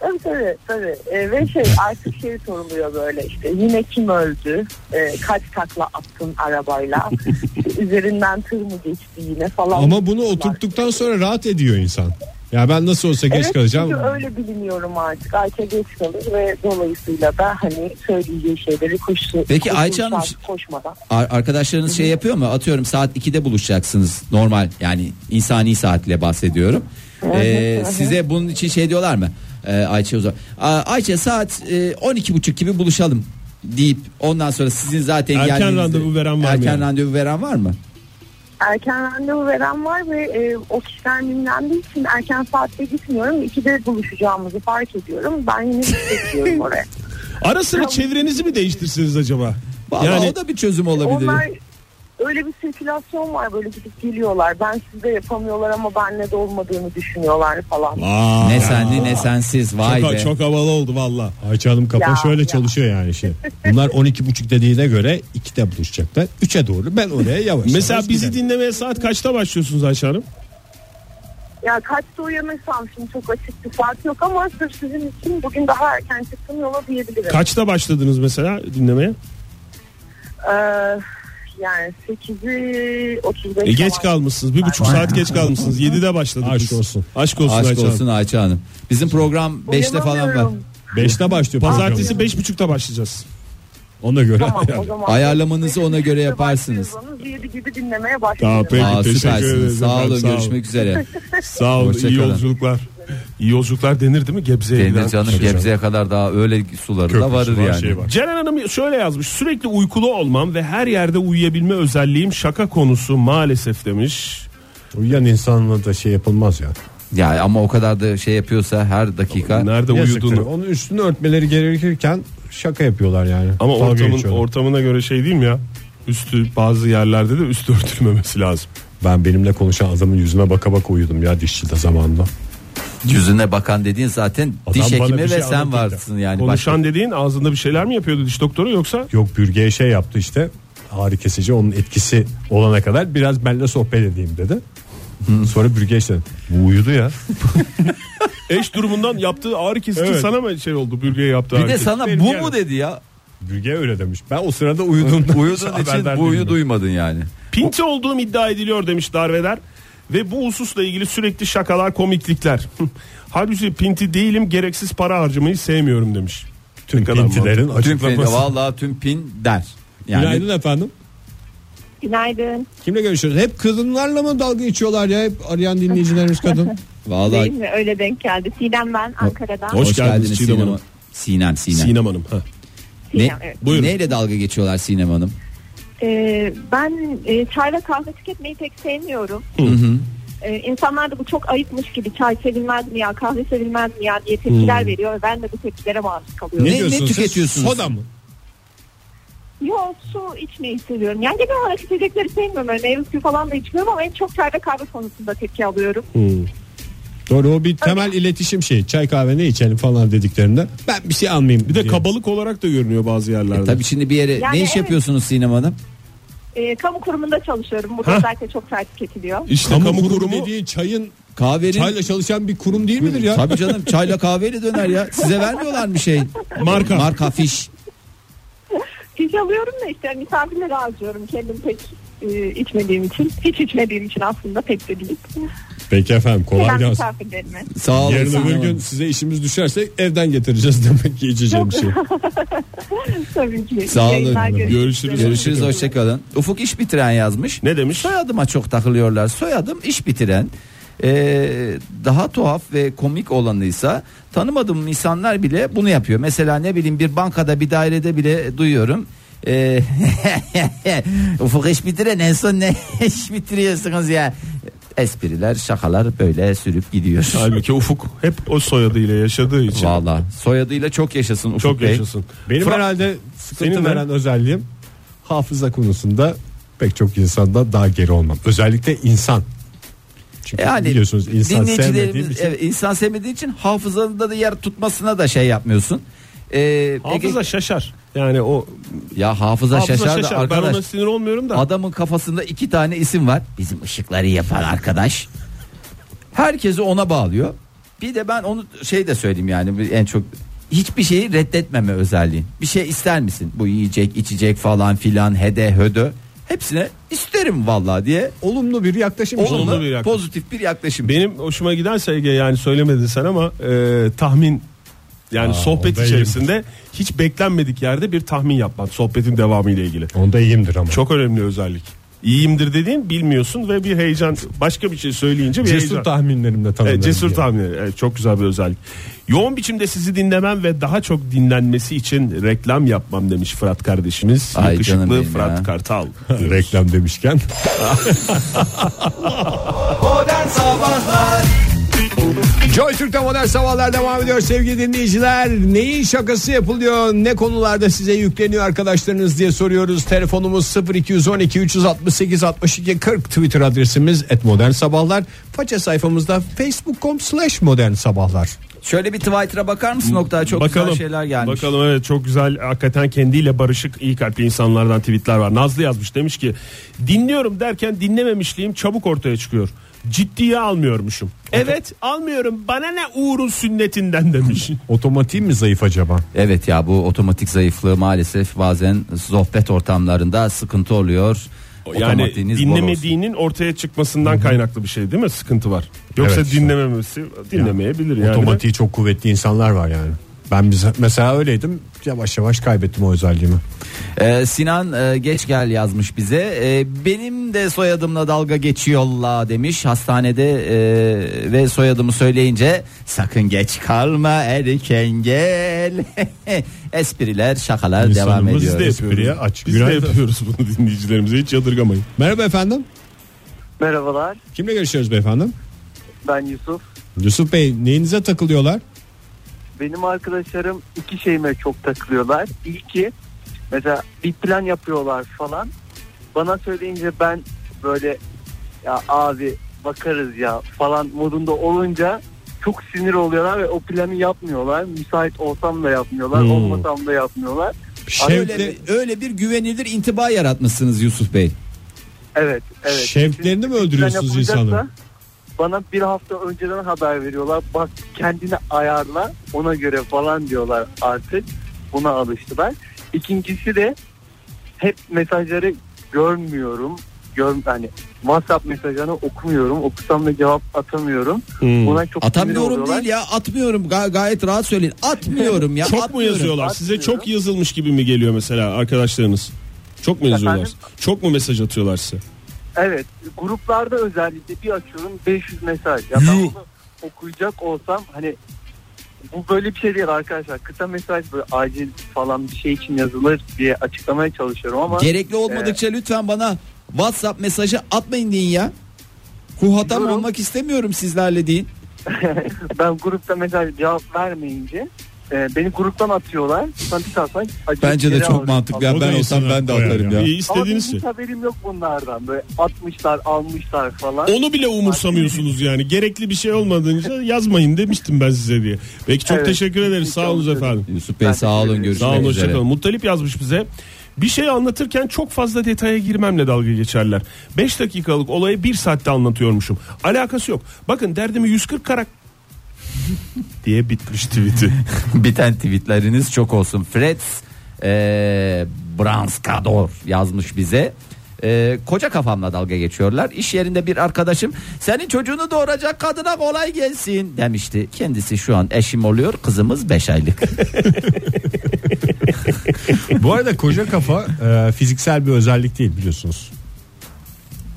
Speaker 6: Tabii tabii. tabii. Ee, ve şey artık şey soruluyor böyle işte. Yine kim öldü? Ee, kaç takla attın arabayla? İşte üzerinden tır mı geçti yine falan.
Speaker 5: Ama bunu oturttuktan sonra rahat ediyor insan. Ya ben nasıl olsa geç
Speaker 6: evet,
Speaker 5: kalacağım.
Speaker 6: çünkü öyle biliniyorum artık. Ayça geç kalır ve dolayısıyla da hani söyleyeceği şeyleri koşu,
Speaker 3: Peki Ayça Hanım-
Speaker 6: koşu- koşmadan.
Speaker 3: Ar- arkadaşlarınız şey yapıyor mu? Atıyorum saat 2'de buluşacaksınız normal yani insani saatle bahsediyorum. Ee, size bunun için şey diyorlar mı? Ee, Ayça Uzak. Aa, Ayça saat e, 12.30 gibi buluşalım deyip ondan sonra sizin zaten
Speaker 5: Erken
Speaker 3: geldiğinizde-
Speaker 5: randevu veren var mı
Speaker 3: Erken
Speaker 5: yani?
Speaker 3: randevu veren var mı?
Speaker 6: Erken randevu veren var ve e, o kişiler dinlendiği için erken saatte gitmiyorum. İkide buluşacağımızı fark ediyorum. Ben yine bekliyorum oraya.
Speaker 5: Ara sıra çevrenizi mi değiştirsiniz acaba?
Speaker 3: Vallahi
Speaker 5: yani
Speaker 3: o da bir çözüm olabilir.
Speaker 6: Onlar öyle bir sirkülasyon var böyle gidip geliyorlar. Ben sizde yapamıyorlar ama benle de olmadığını düşünüyorlar falan.
Speaker 5: Aa,
Speaker 3: Ne senli ne sensiz vay
Speaker 5: çok,
Speaker 3: be.
Speaker 5: çok havalı oldu valla.
Speaker 2: Ayça Hanım kafa
Speaker 6: Ya,
Speaker 2: şöyle
Speaker 6: ya.
Speaker 2: çalışıyor yani şey. Bunlar 12.30 dediğine göre 2'de buluşacaklar. 3'e doğru ben oraya yavaş
Speaker 5: Mesela
Speaker 2: yavaş
Speaker 5: bizi
Speaker 2: giderim.
Speaker 5: dinlemeye saat kaçta başlıyorsunuz Ayşe Hanım?
Speaker 6: Ya kaçta uyanırsam şimdi çok açık bir saat yok ama sırf sizin için bugün daha erken çıktım yola diyebilirim.
Speaker 5: Kaçta başladınız mesela dinlemeye?
Speaker 6: Ee, yani 8'i 35
Speaker 5: E, geç
Speaker 6: falan.
Speaker 5: kalmışsınız. Bir buçuk saat geç kalmışsınız. 7'de başladık
Speaker 2: Aşk
Speaker 5: biz.
Speaker 2: olsun.
Speaker 5: Aşk olsun
Speaker 3: Aşk
Speaker 5: Ayça
Speaker 3: olsun
Speaker 5: Hanım.
Speaker 3: Ayça Hanım. Bizim program 5'te falan var.
Speaker 6: Uyanamıyorum.
Speaker 2: 5'te başlıyor.
Speaker 5: Pazartesi
Speaker 2: program.
Speaker 5: 5.30'da başlayacağız.
Speaker 2: Ona göre.
Speaker 6: Tamam, o
Speaker 2: yani.
Speaker 6: zaman.
Speaker 3: Ayarlamanızı ona göre yaparsınız.
Speaker 6: Başlıyorsanız Yedi gibi dinlemeye
Speaker 5: Tamam,
Speaker 6: başlıyorum.
Speaker 5: peki.
Speaker 3: Aa,
Speaker 5: Teşekkür ederim
Speaker 3: süpersiniz. Sağ
Speaker 5: efendim,
Speaker 3: olun
Speaker 5: sağ olun.
Speaker 3: görüşmek üzere.
Speaker 5: Sağ olun.
Speaker 3: Hoşça
Speaker 5: iyi
Speaker 3: kalın.
Speaker 5: yolculuklar.
Speaker 4: İyi yolculuklar denir değil mi Gebze'ye
Speaker 3: Denir
Speaker 4: giden?
Speaker 3: canım Gebze'ye kadar daha öyle suları da
Speaker 5: Köprüsü
Speaker 3: varır
Speaker 5: var,
Speaker 3: yani.
Speaker 5: şey var.
Speaker 4: Ceren Hanım şöyle yazmış. Sürekli uykulu olmam ve her yerde uyuyabilme özelliğim şaka konusu maalesef demiş.
Speaker 2: Uyuyan insanla da şey yapılmaz ya.
Speaker 3: Ya ama o kadar da şey yapıyorsa her dakika
Speaker 4: Nerede
Speaker 2: Yazıktır.
Speaker 4: uyuduğunu.
Speaker 2: Onun üstünü örtmeleri gerekirken şaka yapıyorlar yani.
Speaker 4: Ama
Speaker 2: Dalga
Speaker 4: ortamın
Speaker 2: geçiyorlar.
Speaker 4: ortamına göre şey değil mi ya?
Speaker 7: Üstü bazı yerlerde de üstü örtülmemesi lazım.
Speaker 2: Ben benimle konuşan adamın yüzüme baka baka uyudum ya dişçide zamanında.
Speaker 3: Yüzüne bakan dediğin zaten diş
Speaker 2: bana
Speaker 3: hekimi
Speaker 2: bir
Speaker 3: ve
Speaker 2: şey
Speaker 3: sen
Speaker 2: anlatınca.
Speaker 3: varsın yani.
Speaker 4: Konuşan
Speaker 3: Başka-
Speaker 4: dediğin ağzında bir şeyler mi yapıyordu diş doktoru yoksa
Speaker 2: Yok bürgeye şey yaptı işte ağrı kesici onun etkisi olana kadar biraz benimle sohbet edeyim dedi. Sonra bürgeye şey işte bu uyudu ya.
Speaker 4: eş durumundan yaptığı ağrı kesici
Speaker 7: Evet.
Speaker 4: sana mı şey oldu bürgeye yaptı
Speaker 3: bir de sana bu mu dedi ya?
Speaker 2: Bürge öyle demiş. Ben o sırada uyudum.
Speaker 3: Uyuduğun için
Speaker 2: Haberdar değilim
Speaker 3: buyu
Speaker 2: ben.
Speaker 3: duymadın yani.
Speaker 4: Pinti olduğum iddia ediliyor demiş Darveder. Ve bu hususla ilgili sürekli şakalar komiklikler. Halbuki pinti değilim gereksiz para harcamayı sevmiyorum demiş.
Speaker 2: Tüm
Speaker 4: Ne kadar
Speaker 2: pintilerin
Speaker 3: Tüm pin,
Speaker 2: açıklaması.
Speaker 3: vallahi tüm pin der. Yani
Speaker 2: Günaydın efendim.
Speaker 5: Günaydın.
Speaker 2: Kimle görüşüyoruz? Hep kadınlarla mı dalga geçiyorlar ya? Hep arayan dinleyicilerimiz kadın.
Speaker 5: Değil
Speaker 3: vallahi
Speaker 5: mi? Öyle denk geldi. Sinem ben Ankara'dan.
Speaker 7: Hoş geldiniz Sinem
Speaker 3: Sinem
Speaker 7: Hanım.
Speaker 3: Sinem Sinem.
Speaker 7: Sinem Hanım. Ha.
Speaker 3: Ne,
Speaker 5: Sinem, evet.
Speaker 7: Buyurun.
Speaker 3: Neyle dalga geçiyorlar Sinem Hanım?
Speaker 5: Ee, ben e, çay ve kahve tüketmeyi pek sevmiyorum. Ee, insanlar da bu çok ayıpmış gibi çay sevilmez mi ya kahve sevilmez mi ya diye tepkiler veriyor ve ben de bu tepkilere maruz kalıyorum.
Speaker 3: Ne- ne
Speaker 7: diyorsunuz siz?
Speaker 3: tüketiyorsunuz?
Speaker 7: Soda mı?
Speaker 5: Yok su içmeyi seviyorum. Yani genel olarak içecekleri sevmiyorum. Öyle meyve suyu falan da içmiyorum ama en çok çay ve kahve konusunda tepki alıyorum.
Speaker 2: Doğru o bir temel iletişim şeyi. Çay kahve ne içelim falan dediklerinde ben bir şey almayayım.
Speaker 7: Bir de
Speaker 2: diye.
Speaker 7: kabalık olarak da görünüyor bazı yerlerde.
Speaker 3: E Tabii şimdi bir yere
Speaker 5: Yani
Speaker 3: ne iş
Speaker 5: evet.
Speaker 3: yapıyorsunuz Sinem Hanım?
Speaker 5: Ee, kamu kurumunda çalışıyorum. Burada özellikle çok çay tüketiliyor.
Speaker 7: İşte
Speaker 2: Kamu,
Speaker 7: kamu,
Speaker 2: kurumu,
Speaker 7: kurumu
Speaker 2: dediğin çayın
Speaker 3: Kahvenin
Speaker 2: çayla çalışan bir kurum değil midir ya?
Speaker 3: Tabii canım çayla kahveyle döner ya. Size vermiyorlar mı şey?
Speaker 7: Marka.
Speaker 3: Marka fiş.
Speaker 5: Fiş alıyorum da işte misafirlere harcıyorum kendim pek e, içmediğim için. Hiç içmediğim için aslında pek de değil.
Speaker 2: Peki efendim kolay
Speaker 5: Ben
Speaker 2: gelsin.
Speaker 5: misafirlerime.
Speaker 3: Sağ olun.
Speaker 2: Yarın
Speaker 3: Sinem
Speaker 2: öbür
Speaker 3: Hanım.
Speaker 2: gün size işimiz düşerse evden getireceğiz demek ki içeceğim şey.
Speaker 5: Tabii ki.
Speaker 3: Sağ olun.
Speaker 5: Yayınlar,
Speaker 7: Görüşürüz.
Speaker 3: Görüşürüz hoşçakalın. Ufuk iş bitiren yazmış.
Speaker 4: Ne demiş?
Speaker 3: Soyadıma çok takılıyorlar. Soyadım iş bitiren. Ee, daha tuhaf ve komik olanıysa tanımadığım insanlar bile bunu yapıyor. Mesela ne bileyim bir bankada bir dairede bile duyuyorum. Ee, Ufuk iş bitiren en son ne iş bitiriyorsunuz ya? Espriler şakalar böyle sürüp gidiyor.
Speaker 4: Halbuki Ufuk hep o soyadıyla yaşadığı için.
Speaker 3: Valla soyadıyla çok yaşasın Ufuk
Speaker 4: Çok
Speaker 3: Bey.
Speaker 4: yaşasın.
Speaker 2: Benim
Speaker 4: Fra-
Speaker 2: herhalde sıkıntı
Speaker 4: Senin ne?
Speaker 2: veren özelliğim hafıza konusunda pek çok insanda daha geri olmam. Özellikle insan. Çünkü
Speaker 3: E Yani
Speaker 2: biliyorsunuz insan sevmediğim
Speaker 3: dinleyicilerimiz
Speaker 4: şey.
Speaker 2: için
Speaker 3: evet, insan sevmediği için hafızanda da yer tutmasına da şey yapmıyorsun. Ee, peki-
Speaker 4: Hafıza şaşar. Yani o
Speaker 3: ya hafıza,
Speaker 4: hafıza
Speaker 3: şaşar,
Speaker 4: şaşar.
Speaker 3: da
Speaker 4: Ben ona
Speaker 3: arkadaş.
Speaker 4: sinir olmuyorum da.
Speaker 3: Adamın kafasında iki tane isim var. Bizim ışıkları yapan arkadaş. Herkesi ona bağlıyor. Bir de ben onu şey de söyleyeyim yani bir- en çok hiçbir şeyi reddetmeme özelliğin. Bir şey ister misin? Bu yiyecek, içecek falan filan, hede, hödö. Hepsine isterim vallahi diye.
Speaker 2: olumlu bir yaklaşım.
Speaker 3: Olumlu,
Speaker 4: Olumlu bir yaklaşım.
Speaker 3: pozitif bir yaklaşım.
Speaker 4: Benim hoşuma giderse Ege yani söylemedin sen ama e, tahmin yani sohbet
Speaker 2: onda
Speaker 4: içerisinde hiç beklenmedik yerde bir tahmin yapman sohbetin devamı ile ilgili.
Speaker 2: Onda iyiyimdir ama.
Speaker 4: Çok önemli özellik. İyiyimdir dediğin bilmiyorsun ve bir heyecan başka bir şey söyleyince bir
Speaker 2: cesur
Speaker 4: heyecan.
Speaker 2: tahminlerimle tanımlarım.
Speaker 4: Evet, cesur
Speaker 2: diye.
Speaker 4: tahmin. Evet, çok güzel bir özellik. Yoğun biçimde sizi dinlemem ve daha çok dinlenmesi için reklam yapmam demiş Fırat kardeşimiz.
Speaker 3: Ay canım
Speaker 4: Yakışıklı
Speaker 3: benim
Speaker 4: Fırat
Speaker 3: ya.
Speaker 4: Kartal.
Speaker 2: Reklam demişken. Joy Türk'te modern sabahlar devam ediyor sevgili dinleyiciler. Neyin şakası yapılıyor? Ne konularda size yükleniyor arkadaşlarınız diye soruyoruz. Telefonumuz 0212 368 62 40 Twitter adresimiz et modern sabahlar. Faça sayfamızda facebook.com slash modern sabahlar.
Speaker 3: Şöyle bir Twitter'a bakar mısın Oktay? Çok güzel şeyler gelmiş.
Speaker 4: Bakalım evet çok güzel hakikaten kendiyle barışık iyi kalpli insanlardan tweetler var. Nazlı yazmış demiş ki dinliyorum derken dinlememişliğim çabuk ortaya çıkıyor. Ciddiye almıyormuşum. Evet almıyorum bana ne Uğur'un sünnetinden demiş.
Speaker 2: Otomatik mi zayıf acaba?
Speaker 3: Evet ya bu otomatik zayıflığı maalesef bazen sohbet ortamlarında sıkıntı oluyor.
Speaker 4: yani
Speaker 3: Otomatiğiniz bol olsun.
Speaker 4: dinlemediğinin ortaya çıkmasından kaynaklı bir şey değil mi? Sıkıntı var. Yoksa
Speaker 2: Evet.
Speaker 4: dinlememesi dinlemeyebilir yani.
Speaker 2: Otomatiği çok kuvvetli insanlar var yani. Ben bize- mesela öyleydim. Yavaş yavaş kaybettim o özelliğimi.
Speaker 3: Ee, Sinan e, geç gel yazmış bize. Ee, benim de soyadımla dalga geçiyorlar demiş hastanede e, ve soyadımı söyleyince sakın geç kalma erken gel. Espriler şakalar devam
Speaker 7: Biz
Speaker 3: ediyor.
Speaker 7: de yapıyoruz.
Speaker 2: aç.
Speaker 7: Biz de
Speaker 2: Günaydın.
Speaker 7: yapıyoruz bunu dinleyicilerimize hiç yadırgamayın.
Speaker 2: Merhaba efendim.
Speaker 8: Merhabalar
Speaker 2: Kimle görüşüyoruz beyefendi?
Speaker 8: ben Yusuf.
Speaker 2: Yusuf Bey neyinize takılıyorlar?
Speaker 8: Benim arkadaşlarım iki şeyime çok takılıyorlar. İlki mesela bir plan yapıyorlar falan. bana söyleyince ben böyle ya abi bakarız ya falan modunda olunca çok sinir oluyorlar ve o planı yapmıyorlar. Müsait olsam da yapmıyorlar,
Speaker 4: Hmm.
Speaker 8: olmasam da yapmıyorlar.
Speaker 3: Öyle bir, öyle bir güvenilir intiba yaratmışsınız Yusuf Bey.
Speaker 8: Evet, evet.
Speaker 4: Şevklerini mi öldürüyorsunuz
Speaker 8: Plan yapılacaksa
Speaker 4: insanı?
Speaker 8: Bana bir hafta önceden haber veriyorlar. Bak kendini ayarla ona göre falan diyorlar artık. Buna alıştılar. İkincisi de hep mesajları görmüyorum. Gör, hani WhatsApp mesajlarını okumuyorum. Okusam da cevap atamıyorum. Buna çok sinir
Speaker 3: Atamıyorum
Speaker 8: oluyorlar.
Speaker 3: değil ya atmıyorum Ga- gayet rahat söyleyin. Atmıyorum ya
Speaker 4: Çok mu
Speaker 3: atmıyorum.
Speaker 4: yazıyorlar? Size
Speaker 8: Atmıyorum.
Speaker 4: çok yazılmış gibi mi geliyor mesela arkadaşlarınız? Çok mu yazıyorlar?
Speaker 8: Efendim?
Speaker 4: Çok mu mesaj atıyorlar size?
Speaker 8: Evet gruplarda özellikle bir açıyorum 500 mesaj. Ya ben
Speaker 4: Yuh.
Speaker 8: bunu okuyacak olsam hani bu böyle bir şey değil arkadaşlar. Kısa mesaj böyle acil falan bir şey için yazılır diye açıklamaya çalışıyorum ama e,
Speaker 3: Gerekli şey olmadıkça lütfen bana WhatsApp mesajı atmayın deyin ya. Huhatam
Speaker 8: Buyurun.
Speaker 3: olmak istemiyorum sizlerle deyin.
Speaker 8: ben grupta mesaj cevap vermeyince e, beni gruptan atıyorlar. Sonra bir saat sonra acil
Speaker 3: Bence de
Speaker 8: geri
Speaker 3: çok
Speaker 8: alıyorum.
Speaker 3: mantıklı.
Speaker 4: O
Speaker 3: Ya
Speaker 4: da
Speaker 3: ben olsam
Speaker 4: insanı
Speaker 3: ben de
Speaker 4: koyar
Speaker 3: atarım ya.
Speaker 4: İyi,
Speaker 8: Ama benim
Speaker 4: istediğiniz şey.
Speaker 8: hiç haberim yok bunlardan. Böyle atmışlar, almışlar falan.
Speaker 4: Onu bile umursamıyorsunuz yani. Gerekli bir şey olmadığınca yazmayın demiştim ben size diye. Peki çok
Speaker 8: Evet.
Speaker 4: teşekkür ederiz. Sağ olun
Speaker 8: Çok
Speaker 4: efendim.
Speaker 3: Yusuf Bey
Speaker 8: Ben
Speaker 3: sağ
Speaker 8: teşekkür
Speaker 3: olun
Speaker 8: ederim.
Speaker 3: görüşmek
Speaker 4: Sağ olun
Speaker 3: üzere.
Speaker 4: hoşçakalın. Muttalip yazmış bize. Bir şey anlatırken çok fazla detaya girmemle dalga geçerler. 5 dakikalık olayı 1 saatte anlatıyormuşum. Alakası yok. Bakın derdimi 140 karak diye bitmiş tweet'i.
Speaker 3: Biten tweetleriniz çok olsun. Fred eee Branskador yazmış bize. Eee, koca kafamla dalga geçiyorlar. İş yerinde bir arkadaşım senin çocuğunu doğuracak kadına kolay gelsin demişti. Kendisi şu an eşim oluyor. Kızımız 5 aylık.
Speaker 2: Bu arada koca kafa e, fiziksel bir özellik değil biliyorsunuz.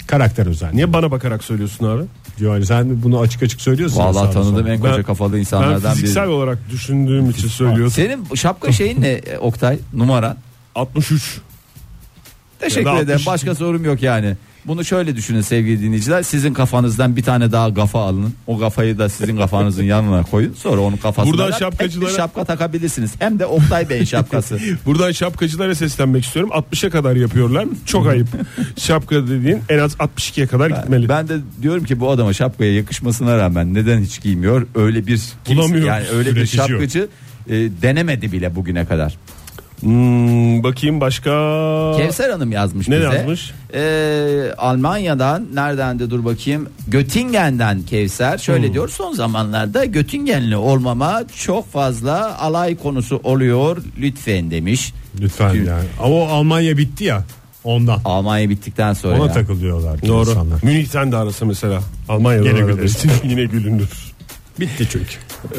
Speaker 2: Karakter özelliği.
Speaker 4: Niye bana bakarak söylüyorsun abi?
Speaker 2: Yani sen bunu açık açık söylüyorsun.
Speaker 3: Vallahi
Speaker 2: sağda
Speaker 3: tanıdığım
Speaker 2: solda.
Speaker 3: en koca
Speaker 4: Ben-
Speaker 3: kafalı
Speaker 4: Ben
Speaker 3: insanlardan
Speaker 4: fiziksel
Speaker 3: biri.
Speaker 4: olarak düşündüğüm için söylüyorum.
Speaker 3: Senin şapka şeyin ne e, Oktay? Numaran.
Speaker 4: 63.
Speaker 3: Teşekkür
Speaker 4: Ya da
Speaker 3: ederim.
Speaker 4: 60.
Speaker 3: Başka sorum yok yani. Bunu şöyle düşünün sevgili dinleyiciler. Sizin kafanızdan bir tane daha kafa alın. O kafayı da sizin kafanızın yanına koyun. Sonra onun kafasına
Speaker 4: Buradan
Speaker 3: da tek bir
Speaker 4: şapkacılara-
Speaker 3: şapka takabilirsiniz. Hem de Oktay Bey'in şapkası.
Speaker 4: Buradan şapkacılara seslenmek istiyorum. 60'a kadar yapıyorlar. Çok ayıp. Şapka dediğin en az 62'ye kadar gitmeli.
Speaker 3: ben de diyorum ki bu adama şapkaya yakışmasına rağmen neden hiç giymiyor? Öyle bir kimse-
Speaker 4: Bulamıyoruz,
Speaker 3: yani öyle bir
Speaker 4: üretici yok.
Speaker 3: şapkacı e, denemedi bile bugüne kadar.
Speaker 4: Hmm, bakayım başka.
Speaker 3: Kevser Hanım yazmış
Speaker 4: Ne
Speaker 3: bize.
Speaker 4: yazmış?
Speaker 3: Ee, Almanya'dan nereden de dur bakayım. Göttingen'den Kevser şöyle
Speaker 4: Hmm.
Speaker 3: diyor. Son zamanlarda Göttingenli olmama çok fazla alay konusu oluyor lütfen demiş.
Speaker 2: Lütfen yani. Ama o Almanya bitti ya ondan.
Speaker 3: Almanya bittikten sonra
Speaker 2: Ona
Speaker 3: ya.
Speaker 2: takılıyorlar
Speaker 4: Doğru.
Speaker 2: insanlar.
Speaker 4: Münih'ten de arasa mesela. Almanya'dan
Speaker 2: Yine
Speaker 4: Yine
Speaker 2: güleriz.
Speaker 4: Yine gülünür.
Speaker 2: Bitti çünkü.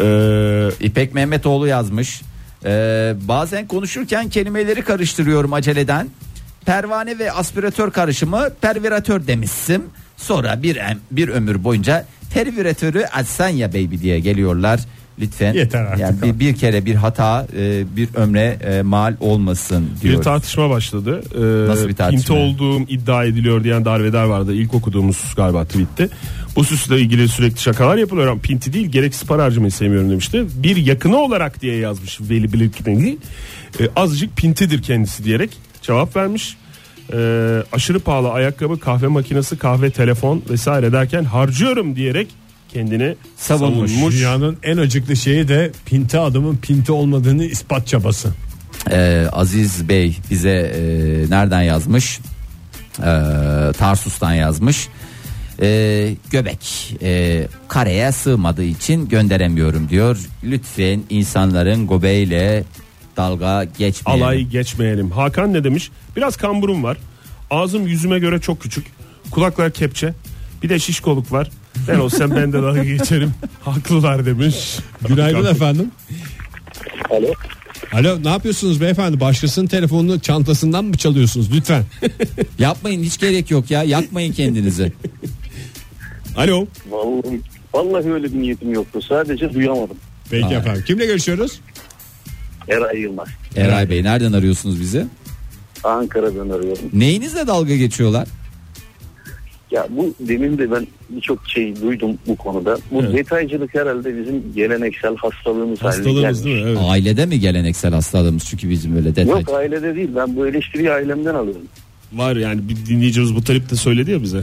Speaker 4: Ee,
Speaker 3: İpek Mehmetoğlu yazmış. Ee, bazen konuşurken kelimeleri karıştırıyorum aceleden. Pervane ve aspiratör karışımı perviratör demişsin. Sonra bir em- bir ömür boyunca perviratörü açsan ya baby diye geliyorlar. Lütfen.
Speaker 2: Yeter artık
Speaker 3: Yani bir, bir kere bir hata e, bir ömre e, mal olmasın diyor.
Speaker 4: bir tartışma başladı. Ee,
Speaker 3: Nasıl bir tartışma?
Speaker 4: Pinti olduğum iddia ediliyor diyen Darveder vardı. İlk okuduğumuz galiba tweette. Bu süsle ilgili sürekli şakalar yapılıyor ama pinti değil gereksiz para harcamayı sevmiyorum demişti. Bir yakını olarak diye yazmış Veli Bilirkin'i. Ee, azıcık pintidir kendisi diyerek cevap vermiş. Ee, aşırı pahalı ayakkabı, kahve makinesi, kahve, telefon vesaire derken harcıyorum diyerek kendini
Speaker 3: Savunmuş.
Speaker 4: savunmuş.
Speaker 2: Dünyanın en acıklı şeyi de pinti adamın pinti olmadığını ispat çabası.
Speaker 3: Ee, Aziz Bey bize e, nereden yazmış? Ee, Tarsus'tan yazmış. Ee, göbek e, kareye sığmadığı için gönderemiyorum diyor. Lütfen insanların göbeğiyle dalga geçmeyin.
Speaker 4: Alay geçmeyelim. Hakan ne demiş? Biraz kamburum var. Ağzım yüzüme göre çok küçük. Kulaklar kepçe. Bir de şişkoluk var. Ben olsam ben de dalga geçerim. Haklılar demiş.
Speaker 2: Günaydın
Speaker 4: Hakan.
Speaker 2: efendim.
Speaker 9: Alo.
Speaker 2: Alo ne yapıyorsunuz beyefendi? Başkasının telefonunu çantasından mı çalıyorsunuz lütfen?
Speaker 3: Yapmayın hiç gerek yok ya. Yakmayın kendinizi.
Speaker 2: Alo.
Speaker 9: Vallahi, vallahi öyle bir niyetim yoktu. Sadece duyamadım.
Speaker 2: Peki efendim. Kimle görüşüyoruz?
Speaker 9: Eray Yılmaz.
Speaker 3: Eray Bey nereden arıyorsunuz bizi?
Speaker 9: Ankara'dan arıyorum.
Speaker 3: Neyinizle dalga geçiyorlar?
Speaker 9: Ya bu demin de ben birçok şey duydum bu konuda. Bu detaycılık herhalde bizim geleneksel hastalığımız, haline
Speaker 4: Hastalığımız
Speaker 9: gelmiş.
Speaker 4: değil mi? Evet.
Speaker 3: Ailede mi geleneksel hastalığımız? Çünkü bizim böyle detay.
Speaker 9: Yok ailede değil. Ben bu eleştiriyi ailemden alıyorum.
Speaker 4: Var yani bir dinleyicimiz bu talip de söyledi ya bize.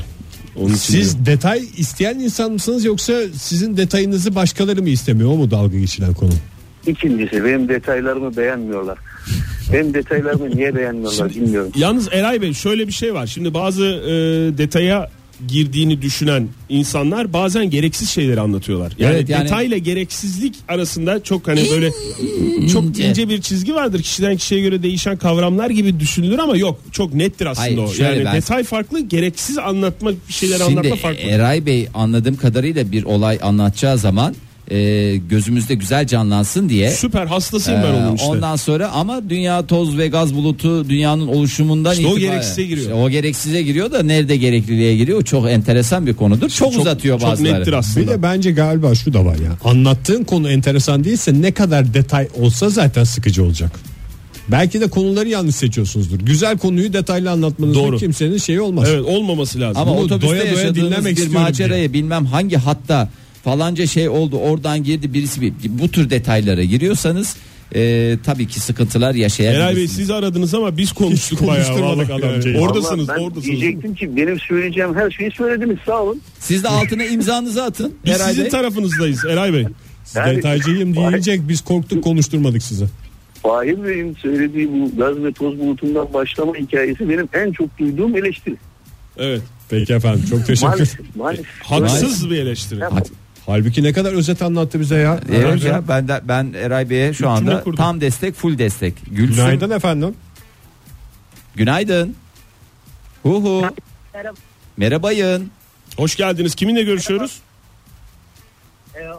Speaker 4: Onun için
Speaker 2: Siz
Speaker 4: diyorum.
Speaker 2: detay isteyen insan mısınız yoksa sizin detayınızı başkaları mı istemiyor O mu dalga geçilen konu?
Speaker 9: İkincisi benim detaylarımı beğenmiyorlar. Benim detaylarımı niye beğenmiyorlar bilmiyorum.
Speaker 4: Yalnız Eray Bey şöyle bir şey var. Şimdi bazı e, detaya girdiğini düşünen insanlar bazen gereksiz şeyleri anlatıyorlar. Yani,
Speaker 3: Evet, yani-
Speaker 4: detayla gereksizlik arasında çok hani böyle çok ince bir çizgi vardır. Kişiden kişiye göre değişen kavramlar gibi düşünülür ama yok. Çok nettir aslında
Speaker 3: Hayır,
Speaker 4: o.
Speaker 3: şöyle
Speaker 4: Yani
Speaker 3: ben-
Speaker 4: detay farklı, gereksiz anlatma bir şeyler anlatma farklı.
Speaker 3: Eray Bey anladığım kadarıyla bir olay anlatacağı zaman e, gözümüzde güzel canlansın diye.
Speaker 4: Süper hastasıyım ben
Speaker 3: Ee,
Speaker 4: onun işte.
Speaker 3: Ondan sonra ama dünya toz ve gaz bulutu dünyanın oluşumundan
Speaker 4: İşte o gereksize giriyor.
Speaker 3: İşte o gereksize giriyor da nerede gerekliliğe giriyor? Çok enteresan bir konudur. Çok, uzatıyor
Speaker 4: Çok
Speaker 3: bazıları.
Speaker 4: nettir aslında.
Speaker 2: Bir de bence galiba şu da var ya. Anlattığın konu enteresan değilse ne kadar detay olsa zaten sıkıcı olacak. Belki de konuları yanlış seçiyorsunuzdur. Güzel konuyu detaylı anlatmanızda
Speaker 4: Doğru.
Speaker 2: kimsenin şeyi olmaz.
Speaker 4: Evet olmaması lazım.
Speaker 3: Ama
Speaker 2: Bunu
Speaker 3: otobüste
Speaker 2: doya doya
Speaker 3: yaşadığınız
Speaker 2: dinlemek
Speaker 3: bir
Speaker 2: istiyorum
Speaker 3: macerayı bilmem hangi hatta falanca şey oldu oradan girdi birisi bir, bu tür detaylara giriyorsanız e, tabii ki sıkıntılar
Speaker 4: Eray Bey
Speaker 3: yaşayabilirsiniz.
Speaker 4: siz aradınız ama biz konuştuk
Speaker 2: Hiç
Speaker 4: bayağı.
Speaker 2: konuşturmadık
Speaker 4: vallahi
Speaker 2: yani.
Speaker 4: adamcağız. Oradasınız,
Speaker 9: Vallahi ben
Speaker 4: oradasınız.
Speaker 9: Diyecektim ki benim söyleyeceğim her şeyi söylediniz sağ olun.
Speaker 3: Siz de altına imzanızı atın.
Speaker 4: Biz
Speaker 3: Eray
Speaker 4: sizin
Speaker 3: Bey.
Speaker 4: tarafınızdayız Eray Bey.
Speaker 2: Siz detaycıyım diyecek biz korktuk konuşturmadık sizi.
Speaker 9: Fahir Bey'in söylediği bu gaz ve toz bulutundan başlama hikayesi benim en çok duyduğum eleştiri.
Speaker 4: Evet.
Speaker 2: Peki efendim çok teşekkür.
Speaker 9: Maalesef, maalesef.
Speaker 4: Haksız bir eleştiri.
Speaker 9: Öyle.
Speaker 2: Halbuki ne kadar özet anlattı bize ya.
Speaker 3: Evet ya ben de ben Eray Bey'e şu anda
Speaker 4: kurdum.
Speaker 3: tam destek, full destek. Gülsün.
Speaker 2: Günaydın efendim.
Speaker 3: Günaydın. Huhu.
Speaker 5: Merhaba.
Speaker 3: Merhabayın.
Speaker 4: Hoş geldiniz. Kiminle görüşüyoruz?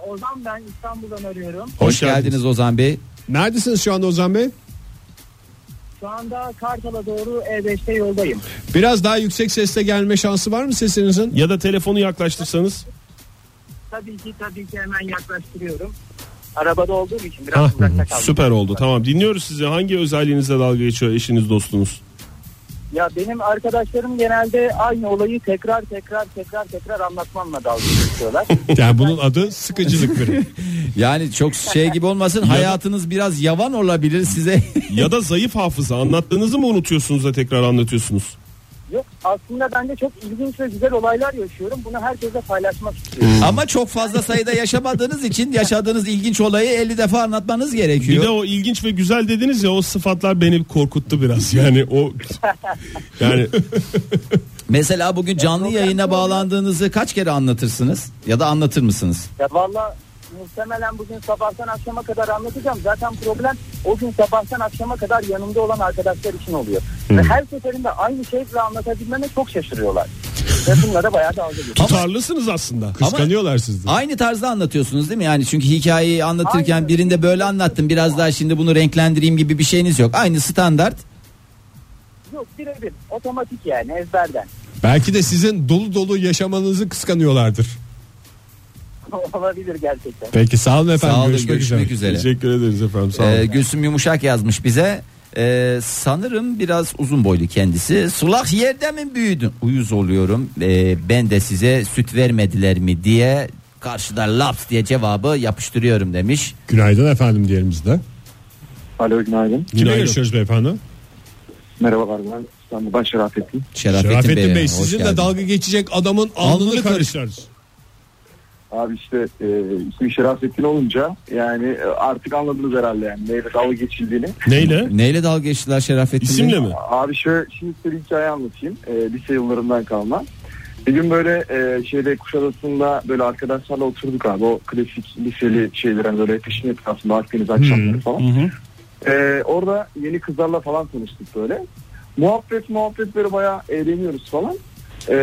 Speaker 5: Ozan Ee, ben İstanbul'dan arıyorum.
Speaker 3: Hoş,
Speaker 4: Hoş
Speaker 3: geldiniz.
Speaker 4: geldiniz.
Speaker 3: Ozan Bey.
Speaker 2: Neredesiniz şu anda Ozan Bey?
Speaker 5: Şu anda Kartal'a doğru E5'te yoldayım.
Speaker 2: Biraz daha yüksek sesle gelme şansı var mı sesinizin?
Speaker 4: Ya da telefonu yaklaştırsanız.
Speaker 5: Tabii ki tabii ki hemen yaklaştırıyorum. Arabada olduğum için biraz
Speaker 3: Ah,
Speaker 4: Hah,
Speaker 5: uzakta kaldım.
Speaker 4: süper oldu. Tamam dinliyoruz sizi. Hangi özelliğinizle dalga geçiyor eşiniz dostunuz?
Speaker 5: Ya benim arkadaşlarım genelde aynı olayı tekrar tekrar tekrar tekrar anlatmamla dalga geçiyorlar.
Speaker 2: Yani bunun adı sıkıcılık biri.
Speaker 3: Yani çok şey gibi olmasın. hayatınız biraz yavan olabilir size.
Speaker 4: Ya da zayıf hafıza. Anlattığınızı mı unutuyorsunuz da tekrar anlatıyorsunuz?
Speaker 5: Yok aslında ben de çok ilginç ve güzel olaylar yaşıyorum. Bunu herkese paylaşmak istiyorum.
Speaker 3: Ama çok fazla sayıda yaşamadığınız için yaşadığınız ilginç olayı 50 defa anlatmanız
Speaker 4: Bir
Speaker 3: gerekiyor.
Speaker 4: de o ilginç ve güzel dediniz ya o sıfatlar beni korkuttu biraz. Yani o yani
Speaker 3: Mesela bugün canlı yayına bağlandığınızı kaç kere anlatırsınız ya da anlatır mısınız?
Speaker 5: Ya valla muhtemelen bugün sabahtan akşama kadar anlatacağım. Zaten problem o gün sabahtan akşama kadar yanımda olan arkadaşlar için oluyor. Ve her seferinde aynı şeyle anlatabilmeme çok şaşırıyorlar. ve bunlara bayağı dalga geçiyorum.
Speaker 4: tutarlısınız aslında.
Speaker 2: Kıskanıyorlar sizi.
Speaker 3: Aynı tarzda anlatıyorsunuz değil mi? Yani çünkü hikayeyi anlatırken
Speaker 5: Aynen.
Speaker 3: birinde böyle anlattım biraz daha şimdi bunu renklendireyim gibi bir şeyiniz yok. Aynı standart.
Speaker 5: Yok birebir otomatik yani ezberden.
Speaker 2: Belki de sizin dolu dolu yaşamanızı kıskanıyorlardır.
Speaker 5: Olabilir gerçekten.
Speaker 2: Peki sağ olun efendim.
Speaker 3: Sağ olun
Speaker 2: görüşmek, üzere.
Speaker 3: görüşmek üzere.
Speaker 4: Teşekkür ederiz efendim. Sağ olun.
Speaker 3: Ee, Gülsüm Yumuşak yazmış bize. Ee, sanırım biraz uzun boylu kendisi. Sulak yerde mi büyüdün? Uyuz oluyorum. Ee, ben de size süt vermediler mi diye karşıda laps diye cevabı yapıştırıyorum demiş.
Speaker 2: Günaydın efendim diyelim biz de.
Speaker 8: Alo günaydın.
Speaker 2: Kimle
Speaker 4: Günaydın.
Speaker 2: görüşüyoruz beyefendi?
Speaker 8: Merhabalar ben İstanbul. Ben Şerafettin.
Speaker 3: Şerafettin,
Speaker 2: Şerafettin Bey,
Speaker 3: hoş
Speaker 2: sizin de
Speaker 3: geldin.
Speaker 2: dalga geçecek adamın alnını
Speaker 3: Alnını karış-
Speaker 2: karışlarız.
Speaker 8: Abi işte e, ismi Şerafettin olunca yani e, artık anladınız herhalde yani neyle dalga geçildiğini.
Speaker 4: Neyle?
Speaker 3: Neyle dalga geçtiler Şerafettin Bey?
Speaker 4: İsimle mi?
Speaker 8: Abi şöyle şimdi size bir hikaye anlatayım. E, lise yıllarından kalma. Bir gün böyle e, şeyde Kuşadası'nda böyle arkadaşlarla oturduk abi. O klasik liseli şeyler hani böyle peşin etrafında Akdeniz akşamları falan. E, orada yeni kızlarla falan tanıştık böyle. Muhabbet muhabbet böyle bayağı eğleniyoruz falan. E,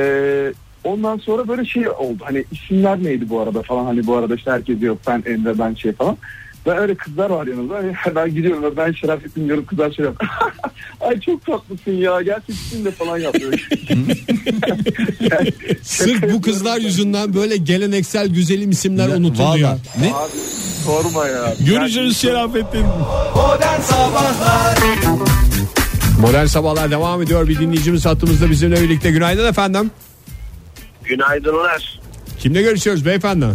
Speaker 8: ondan sonra böyle şey oldu. Hani isimler neydi bu arada falan. Hani bu arada işte herkes yok ben Emre ben şey falan. Ben öyle kızlar var yanımda. Hani ben gidiyorum ben Şerafettin diyorum kızlar şey yapıyor. Ay çok tatlısın ya gerçekten de falan yapıyor.
Speaker 2: Sırf bu kızlar yüzünden böyle geleneksel güzelim isimler
Speaker 3: Vallahi.
Speaker 2: unutuluyor.
Speaker 3: Ne?
Speaker 8: Abi sorma ya.
Speaker 4: Görüşürüz Şerafettin.
Speaker 2: Modern Sabahlar devam ediyor. Bir dinleyicimiz hattımızda bizimle birlikte. Günaydın efendim.
Speaker 10: Günaydınlar.
Speaker 2: Kimle görüşüyoruz beyefendi?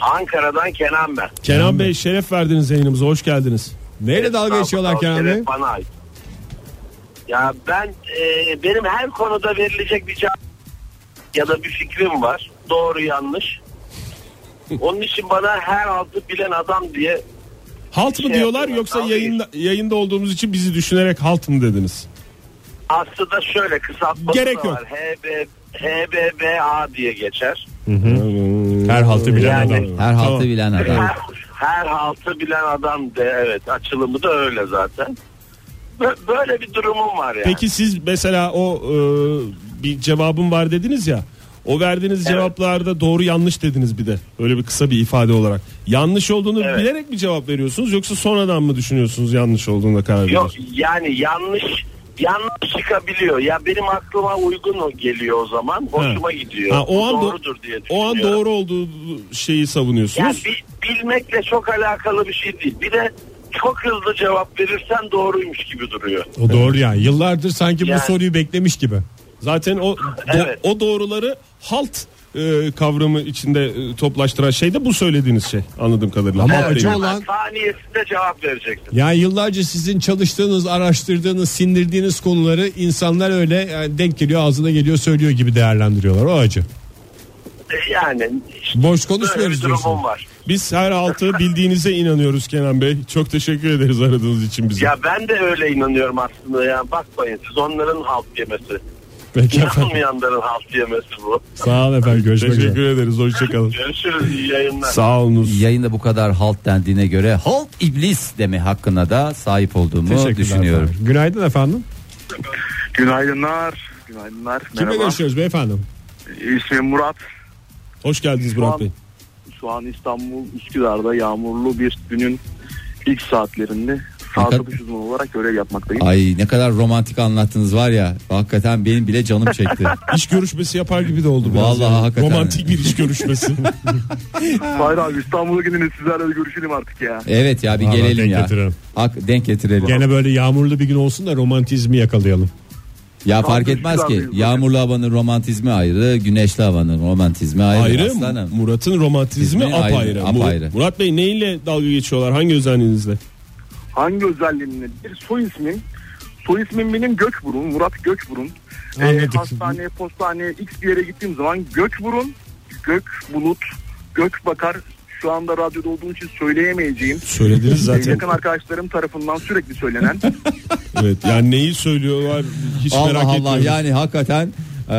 Speaker 10: Ankara'dan Kenan ben.
Speaker 4: Kenan Bey şeref verdiniz yayınımıza. Hoş geldiniz.
Speaker 2: Neyle dalga geçiyorlar Kenan Bey?
Speaker 10: Bana ait. Ya ben e, benim her konuda verilecek bir cevap ya da bir fikrim var. Doğru yanlış. Onun için bana her altı bilen adam diye
Speaker 4: Halt mı
Speaker 10: Şey
Speaker 4: diyorlar
Speaker 10: yapıyorlar,
Speaker 4: yoksa
Speaker 10: dalga
Speaker 4: yayında, yayında olduğumuz için bizi düşünerek halt mı dediniz?
Speaker 10: aslında şöyle kısaltması
Speaker 4: Gerek
Speaker 10: da
Speaker 4: yok.
Speaker 10: var. HB, HBBA diye geçer.
Speaker 2: Her haltı bilen
Speaker 10: Yani-
Speaker 2: adam.
Speaker 3: Her haltı
Speaker 4: Tamam.
Speaker 3: bilen adam.
Speaker 10: Her, her haltı bilen adam de evet açılımı da öyle zaten. Bö- Böyle bir durumum var yani.
Speaker 4: Peki siz mesela o e, bir cevabım var dediniz ya. O verdiğiniz cevaplarda doğru yanlış dediniz bir de. Öyle bir kısa bir ifade olarak. Yanlış olduğunu
Speaker 10: Evet.
Speaker 4: bilerek mi cevap veriyorsunuz yoksa sonradan mı düşünüyorsunuz yanlış olduğuna karar
Speaker 10: Yok
Speaker 4: veriyorsunuz?
Speaker 10: yani yanlış yanlış çıkabiliyor. Ya benim aklıma uygun o geliyor o zaman. Hoşuma gidiyor.
Speaker 4: Ha, o
Speaker 10: Bu
Speaker 4: an do-
Speaker 10: doğrudur diye
Speaker 4: O
Speaker 10: düşünüyorum.
Speaker 4: an doğru olduğu şeyi
Speaker 10: Yani
Speaker 4: savunuyorsunuz.
Speaker 10: bi- bilmekle çok alakalı bir şey değil. Bir de çok hızlı cevap verirsen doğruymuş gibi duruyor.
Speaker 2: O doğru yani. Yıllardır sanki
Speaker 10: Yani-
Speaker 2: bu soruyu beklemiş gibi.
Speaker 4: Zaten o do-
Speaker 10: Evet.
Speaker 4: o doğruları halt e, kavramı içinde e, toplaştıran şey de bu söylediğiniz şey anladığım kadarıyla.
Speaker 2: Ama
Speaker 4: Halt
Speaker 2: acı
Speaker 4: değil.
Speaker 2: olan
Speaker 10: Saniyesinde cevap vereceksin.
Speaker 2: yani yıllarca sizin çalıştığınız, araştırdığınız, sindirdiğiniz konuları insanlar öyle yani denk geliyor, ağzına geliyor, söylüyor gibi değerlendiriyorlar. O acı.
Speaker 10: E, Yani işte
Speaker 2: Boş
Speaker 10: böyle
Speaker 2: konuşmuyoruz
Speaker 10: bir
Speaker 2: diyorsun.
Speaker 10: durumum var.
Speaker 4: Biz her altı bildiğinize inanıyoruz Kenan Bey. Çok teşekkür ederiz aradığınız için bize.
Speaker 10: Ya ben de öyle inanıyorum aslında. Yani bakmayın siz onların halt yemesi.
Speaker 2: Peki efendim.
Speaker 10: İnanmayanların halt yemesi bu.
Speaker 2: Sağ olun efendim. Görüşmek üzere.
Speaker 4: Teşekkür ederiz. Hoşçakalın.
Speaker 10: Görüşürüz iyi yayınlar.
Speaker 4: Sağ olunuz.
Speaker 3: Yayında bu kadar halt dendiğine göre halt iblis deme hakkına da sahip olduğumu
Speaker 2: Teşekkürler
Speaker 3: düşünüyorum.
Speaker 2: efendim. Günaydın efendim.
Speaker 8: Günaydınlar. Günaydınlar.
Speaker 2: Kimle
Speaker 8: Merhaba.
Speaker 2: görüşüyoruz beyefendi?
Speaker 8: İsmim Murat.
Speaker 4: Hoş geldiniz Murat Bey.
Speaker 8: Şu an İstanbul Üsküdar'da yağmurlu bir günün ilk saatlerinde
Speaker 3: Fakat-
Speaker 8: sağlık uzmanı olarak görev yapmaktayım.
Speaker 3: Ay ne kadar romantik anlattınız var ya. Hakikaten benim bile canım çekti.
Speaker 4: İş görüşmesi yapar gibi de oldu. biraz
Speaker 3: Vallahi hakikaten.
Speaker 4: Romantik bir iş görüşmesi.
Speaker 8: Hayır abi İstanbul'a gidin sizlerle bir görüşelim artık ya.
Speaker 3: evet ya bir
Speaker 2: Vallahi
Speaker 3: gelelim
Speaker 2: denk
Speaker 3: ya.
Speaker 2: getirelim.
Speaker 3: Hak, denk getirelim.
Speaker 2: Gene böyle yağmurlu bir gün olsun da romantizmi yakalayalım.
Speaker 3: Ya fark
Speaker 8: Kalkın
Speaker 3: etmez ki
Speaker 8: silahınızı.
Speaker 3: yağmurlu havanın romantizmi ayrı, güneşli havanın romantizmi ayrı.
Speaker 4: ayrı
Speaker 3: aslanım.
Speaker 4: Murat'ın romantizmi
Speaker 3: Bizim
Speaker 4: apayrı.
Speaker 3: ayrı,
Speaker 4: Mur-
Speaker 3: apayrı.
Speaker 4: Murat Bey neyle dalga geçiyorlar? Hangi özelliğinizle?
Speaker 8: Hangi özelliğimle? Bir soy ismim. Soy ismim benim Gökburun. Murat Gökburun. Ee,
Speaker 2: Anladık.
Speaker 8: hastaneye, postaneye, x bir yere gittiğim zaman Gökburun, Gök Bulut, Gök Bakar şu anda radyoda olduğum için söyleyemeyeceğim.
Speaker 4: Söylediniz
Speaker 8: Ee,
Speaker 4: zaten.
Speaker 8: Yakın arkadaşlarım tarafından sürekli söylenen.
Speaker 4: evet. Yani neyi söylüyorlar hiç
Speaker 3: Allah
Speaker 4: merak
Speaker 3: Allah
Speaker 4: etmiyorum.
Speaker 3: yani hakikaten e,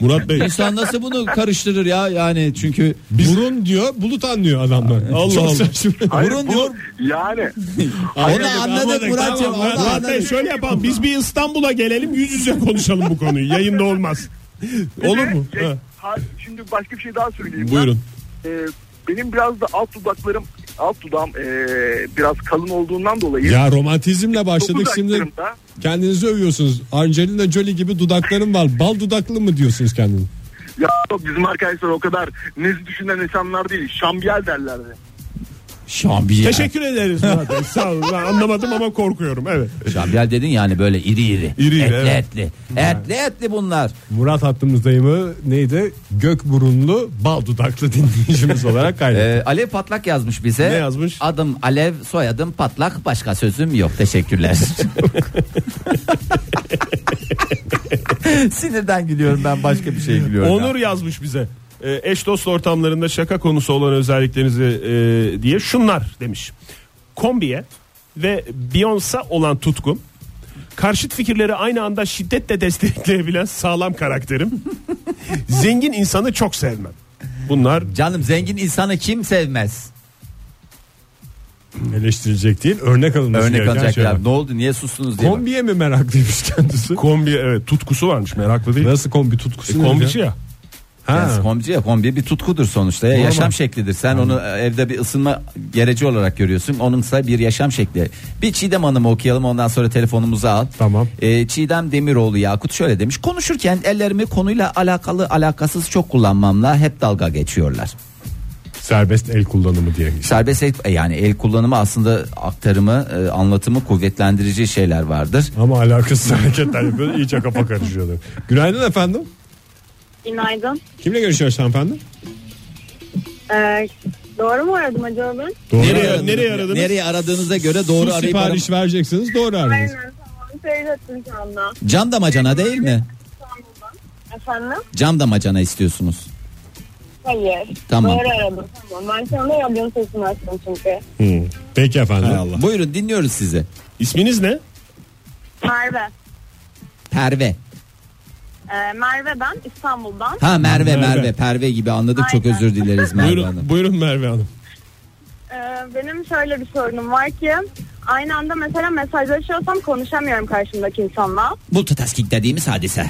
Speaker 4: Murat Bey.
Speaker 3: insan nasıl bunu karıştırır ya yani çünkü
Speaker 2: Burun diyor, bulut anlıyor adamlar.
Speaker 4: Allah
Speaker 2: Çok
Speaker 4: Allah.
Speaker 2: saçma.
Speaker 8: Hayır,
Speaker 3: Burun
Speaker 8: bu-
Speaker 3: diyor.
Speaker 8: Yani
Speaker 3: Onu anladık Murat'cığım. onu
Speaker 4: Murat, Murat Bey
Speaker 3: anladık.
Speaker 4: şöyle yapalım. Biz bir İstanbul'a gelelim yüz yüze konuşalım bu konuyu. Yayında olmaz. Olur mu?
Speaker 8: Bir de-
Speaker 4: Ha,
Speaker 8: Şey, Ha, Şimdi başka bir şey daha söyleyeyim. ben.
Speaker 4: Buyurun.
Speaker 8: Ee, benim biraz da alt dudaklarım alt dudağım ee, biraz kalın olduğundan dolayı
Speaker 2: Ya romantizmle başladık
Speaker 8: dokuz
Speaker 2: şimdi
Speaker 8: aylarımda-
Speaker 2: kendinizi övüyorsunuz. Angelina Jolie gibi dudaklarım var. Bal dudaklı mı diyorsunuz kendini?
Speaker 8: Ya yok, bizim arkadaşlar o kadar nezih düşünen insanlar değil. Şambiyel derlerdi.
Speaker 3: Şambiyel.
Speaker 4: Teşekkür ederiz Murat Bey. Sağ olun. Ben anlamadım ama korkuyorum. Evet.
Speaker 3: Şambiyel dedin yani böyle iri iri.
Speaker 4: İri iri,
Speaker 3: etli
Speaker 4: evet.
Speaker 3: etli. Etli etli bunlar.
Speaker 2: Murat hattımızdayımı neydi? Gök burunlu, bal dudaklı dinleyicimiz olarak kaydettik.
Speaker 3: E, Alev Patlak yazmış bize.
Speaker 4: Ne yazmış?
Speaker 3: Adım Alev, soyadım Patlak. Başka sözüm yok. Teşekkürler. Sinirden gülüyorum ben başka bir şey gülüyorum.
Speaker 4: Onur yazmış bize. E, eş dost ortamlarında şaka konusu olan özelliklerinizi e, diye şunlar demiş. Kombiye ve Beyoncé olan tutkum. Karşıt fikirleri aynı anda şiddetle destekleyebilen sağlam karakterim. Zengin insanı çok sevmem. Bunlar
Speaker 3: Canım zengin insanı kim sevmez?
Speaker 2: Eleştirilecek değil, örnek alınması
Speaker 3: Örnek
Speaker 2: gereken şeyler.
Speaker 3: alacaklar. Ne oldu? Niye sustunuz diye. bak.
Speaker 2: Kombiye mi meraklıymış kendisi?
Speaker 4: kombi evet tutkusu varmış meraklı değil.
Speaker 2: Nasıl kombi tutkusu? nedir
Speaker 4: E, Kombici
Speaker 2: ya?
Speaker 4: ya.
Speaker 3: Yani
Speaker 2: Ha.
Speaker 3: kombi ya kombi bir tutkudur sonuçta. ya, yaşam şeklidir. Sen onu evde bir ısınma gereci olarak görüyorsun. Onunsa bir yaşam şekli. Bir Çiğdem Hanım'ı okuyalım ondan sonra telefonumuzu al.
Speaker 2: Tamam.
Speaker 3: Ee, Çiğdem Demiroğlu Yakut şöyle demiş. Konuşurken ellerimi konuyla alakalı alakasız çok kullanmamla hep dalga geçiyorlar.
Speaker 2: Serbest el kullanımı diye.
Speaker 4: şey.
Speaker 3: Serbest el- yani el kullanımı aslında aktarımı e, anlatımı kuvvetlendirici şeyler vardır.
Speaker 2: Ama alakasız hareketler yapıyor. iyice kafa karışıyorlar. Günaydın efendim.
Speaker 5: Günaydın.
Speaker 2: Kimle görüşüyoruz hanımefendi?
Speaker 5: Ee, doğru mu aradım acaba ben?
Speaker 2: Doğru.
Speaker 4: Nereye-
Speaker 2: aradınız.
Speaker 4: aradınız?
Speaker 3: Nereye aradığınıza göre doğru
Speaker 2: Su
Speaker 3: arayıp
Speaker 2: sipariş vereceksiniz doğru aradınız.
Speaker 5: Aynen tamam
Speaker 11: seyrettim canlı.
Speaker 3: Cam damacana değil mi?
Speaker 11: Efendim?
Speaker 3: Cam damacana istiyorsunuz.
Speaker 11: Hayır.
Speaker 3: Tamam.
Speaker 11: Doğru aradım. Tamam. Ben şu anda radyonun sesini açtım çünkü.
Speaker 2: Peki efendim.
Speaker 3: Buyurun dinliyoruz sizi.
Speaker 4: İsminiz ne?
Speaker 11: Merve.
Speaker 3: Perve.
Speaker 11: Ee, Merve ben İstanbul'dan.
Speaker 3: Ha Merve
Speaker 4: Merve.
Speaker 3: Merve Perve gibi anladık çok
Speaker 11: Aynen.
Speaker 3: özür dileriz Merve Hanım.
Speaker 4: Buyurun, buyurun Merve Hanım.
Speaker 11: Ee, benim şöyle bir sorunum var ki aynı anda mesela mesajlaşıyorsam konuşamıyorum karşımdaki insanla.
Speaker 3: Multitasking dediğimiz hadise.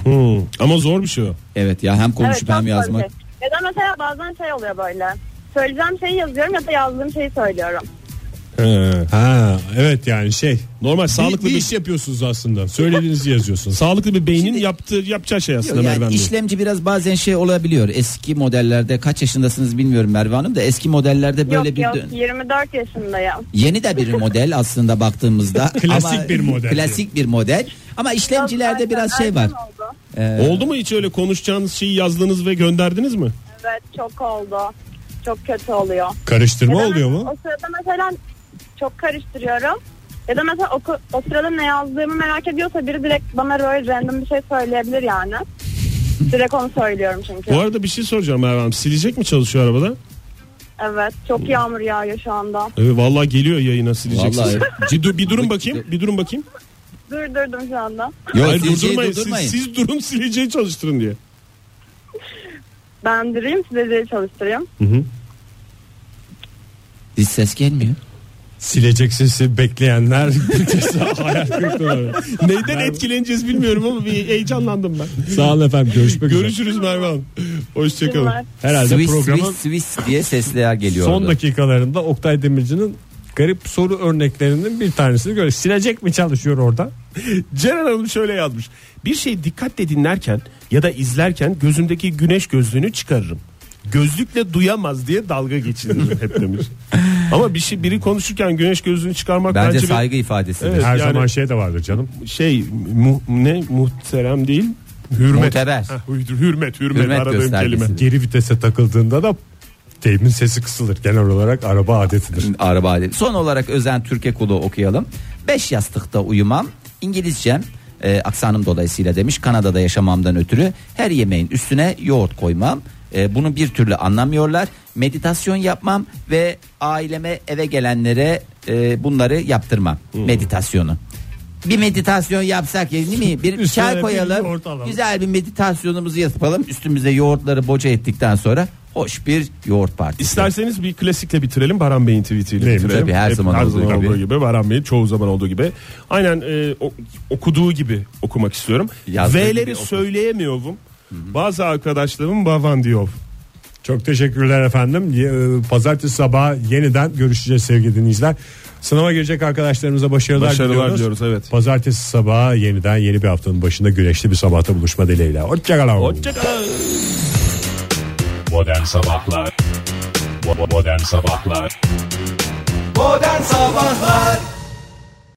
Speaker 4: Ama zor bir şey o.
Speaker 3: Evet ya hem konuşup
Speaker 11: çok
Speaker 3: hem
Speaker 11: zor bir
Speaker 3: yazmak.
Speaker 11: şey. Ya da mesela bazen şey oluyor böyle. Söyleyeceğim şeyi yazıyorum ya da yazdığım şeyi söylüyorum.
Speaker 2: Ha evet yani şey.
Speaker 4: Normal sağlıklı bir, şey
Speaker 2: iş yapıyorsunuz aslında. Söylediğinizi yazıyorsunuz.
Speaker 4: sağlıklı bir beynin yaptığı yapacağı şey aslında
Speaker 3: Yani
Speaker 4: Merve Hanım.
Speaker 3: işlemci biraz bazen şey olabiliyor. Eski modellerde kaç yaşındasınız bilmiyorum Merve Hanım da eski modellerde böyle
Speaker 11: yok
Speaker 3: bir
Speaker 11: yok
Speaker 3: dön-
Speaker 11: 24 yaşındayım.
Speaker 3: yeni de bir model aslında baktığımızda
Speaker 2: Klasik
Speaker 3: Ama-
Speaker 2: bir model.
Speaker 3: Klasik bir model ama işlemcilerde
Speaker 11: Erken-
Speaker 3: biraz şey
Speaker 11: erken
Speaker 3: var. Ee,
Speaker 11: Oldu.
Speaker 4: Oldu mu hiç öyle konuşacağınız şeyi yazdınız ve gönderdiniz mi?
Speaker 11: Evet çok oldu. Çok kötü oluyor.
Speaker 2: Karıştırma
Speaker 11: Ya da
Speaker 2: oluyor
Speaker 11: mesela
Speaker 2: mu?
Speaker 11: O sırada mesela çok karıştırıyorum. Ya da mesela oku- o sırada ne yazdığımı merak ediyorsa biri direkt bana böyle random bir şey söyleyebilir yani. direkt onu söylüyorum çünkü.
Speaker 4: Bu arada bir şey soracağım Merve Hanım. Silecek mi çalışıyor arabada?
Speaker 11: Evet çok yağmur yağıyor şu anda.
Speaker 4: Evet vallahi geliyor yayına sileceksiniz.
Speaker 3: Vallahi.
Speaker 4: Ciddi bir durun bakayım. Bir durun bakayım.
Speaker 11: Durdurdum şu anda.
Speaker 3: Yok
Speaker 4: Hayır
Speaker 3: sileceği
Speaker 4: durdurmayın.
Speaker 3: durdurmayın.
Speaker 4: Siz, siz durun sileceği çalıştırın diye.
Speaker 11: Ben durayım size de çalıştırayım.
Speaker 3: Hiç ses gelmiyor.
Speaker 2: Silecek sesi bekleyenler
Speaker 4: Neyden etkileneceğiz bilmiyorum ama bir heyecanlandım ben.
Speaker 2: Sağ olun efendim görüşmek üzere.
Speaker 4: Görüşürüz Merve Hanım. Hoşçakalın.
Speaker 11: Bunlar-
Speaker 2: Herhalde
Speaker 3: Swiss,
Speaker 2: programın
Speaker 3: Swiss, Swiss diye sesler geliyordu.
Speaker 2: son dakikalarında Oktay Demirci'nin garip soru örneklerinin bir tanesini görüyoruz. Silecek mi çalışıyor orada?
Speaker 4: Ceren Hanım şöyle yazmış. Bir şey dikkatle dinlerken ya da izlerken gözümdeki güneş gözlüğünü çıkarırım. Gözlükle duyamaz diye dalga geçiririm hep demiş. Ama bir şey biri konuşurken güneş gözlüğünü çıkarmak
Speaker 3: Bence,
Speaker 4: bence, bir
Speaker 3: saygı ifadesi.
Speaker 4: Evet,
Speaker 2: Her
Speaker 4: yani-
Speaker 2: zaman şey de vardır canım.
Speaker 4: şey mu- ne muhterem değil hürmet.
Speaker 3: Muteber.
Speaker 4: Heh, hür- hürmet, hürmet,
Speaker 3: Hürmet
Speaker 4: aradığım
Speaker 3: göstergesi.
Speaker 4: kelime.
Speaker 2: Geri vitese takıldığında da teymin sesi kısılır. Genel olarak araba adetidir.
Speaker 3: Araba alemi. Son olarak Özen Türke Kulu okuyalım. Beş yastıkta uyumam. İngilizcem e, aksanım dolayısıyla demiş. Kanada'da yaşamamdan ötürü her yemeğin üstüne yoğurt koymam. E, bunu bir türlü anlamıyorlar. Meditasyon yapmam ve aileme eve gelenlere e, bunları yaptırmam.
Speaker 2: Hmm.
Speaker 3: Meditasyonu. Bir meditasyon yapsak ya değil mi? Bir
Speaker 2: Üstüne bir
Speaker 3: çay koyalım.
Speaker 2: yoğurt alalım.
Speaker 3: Güzel bir meditasyonumuzu yapalım. Üstümüze yoğurtları boca ettikten sonra hoş bir yoğurt partisi.
Speaker 4: İsterseniz bir klasikle bitirelim. Baran Bey'in tweetiyle
Speaker 2: Neymiş?
Speaker 4: bitirelim.
Speaker 3: Tabii, her zaman olduğu gibi.
Speaker 4: Baran Bey'in çoğu zaman olduğu gibi. Aynen e, o- okuduğu gibi okumak istiyorum.
Speaker 3: Yazdığı gibi
Speaker 4: V'leri
Speaker 3: oku.
Speaker 4: söyleyemiyorum. Bazı arkadaşlarım bavan diyor.
Speaker 2: Çok teşekkürler efendim. Ye- e, Pazartesi sabahı yeniden görüşeceğiz sevgili dinleyiciler. Sınava girecek arkadaşlarımıza başarılar,
Speaker 4: Başarılar
Speaker 2: diliyoruz.
Speaker 4: diliyoruz, evet.
Speaker 2: Pazartesi sabahı yeniden yeni bir haftanın başında güneşli bir sabahta buluşma dileğiyle. Hoşçakalın.
Speaker 4: Hoşçakalın.
Speaker 12: Modern Sabahlar Bo- Modern Sabahlar
Speaker 13: Modern Sabahlar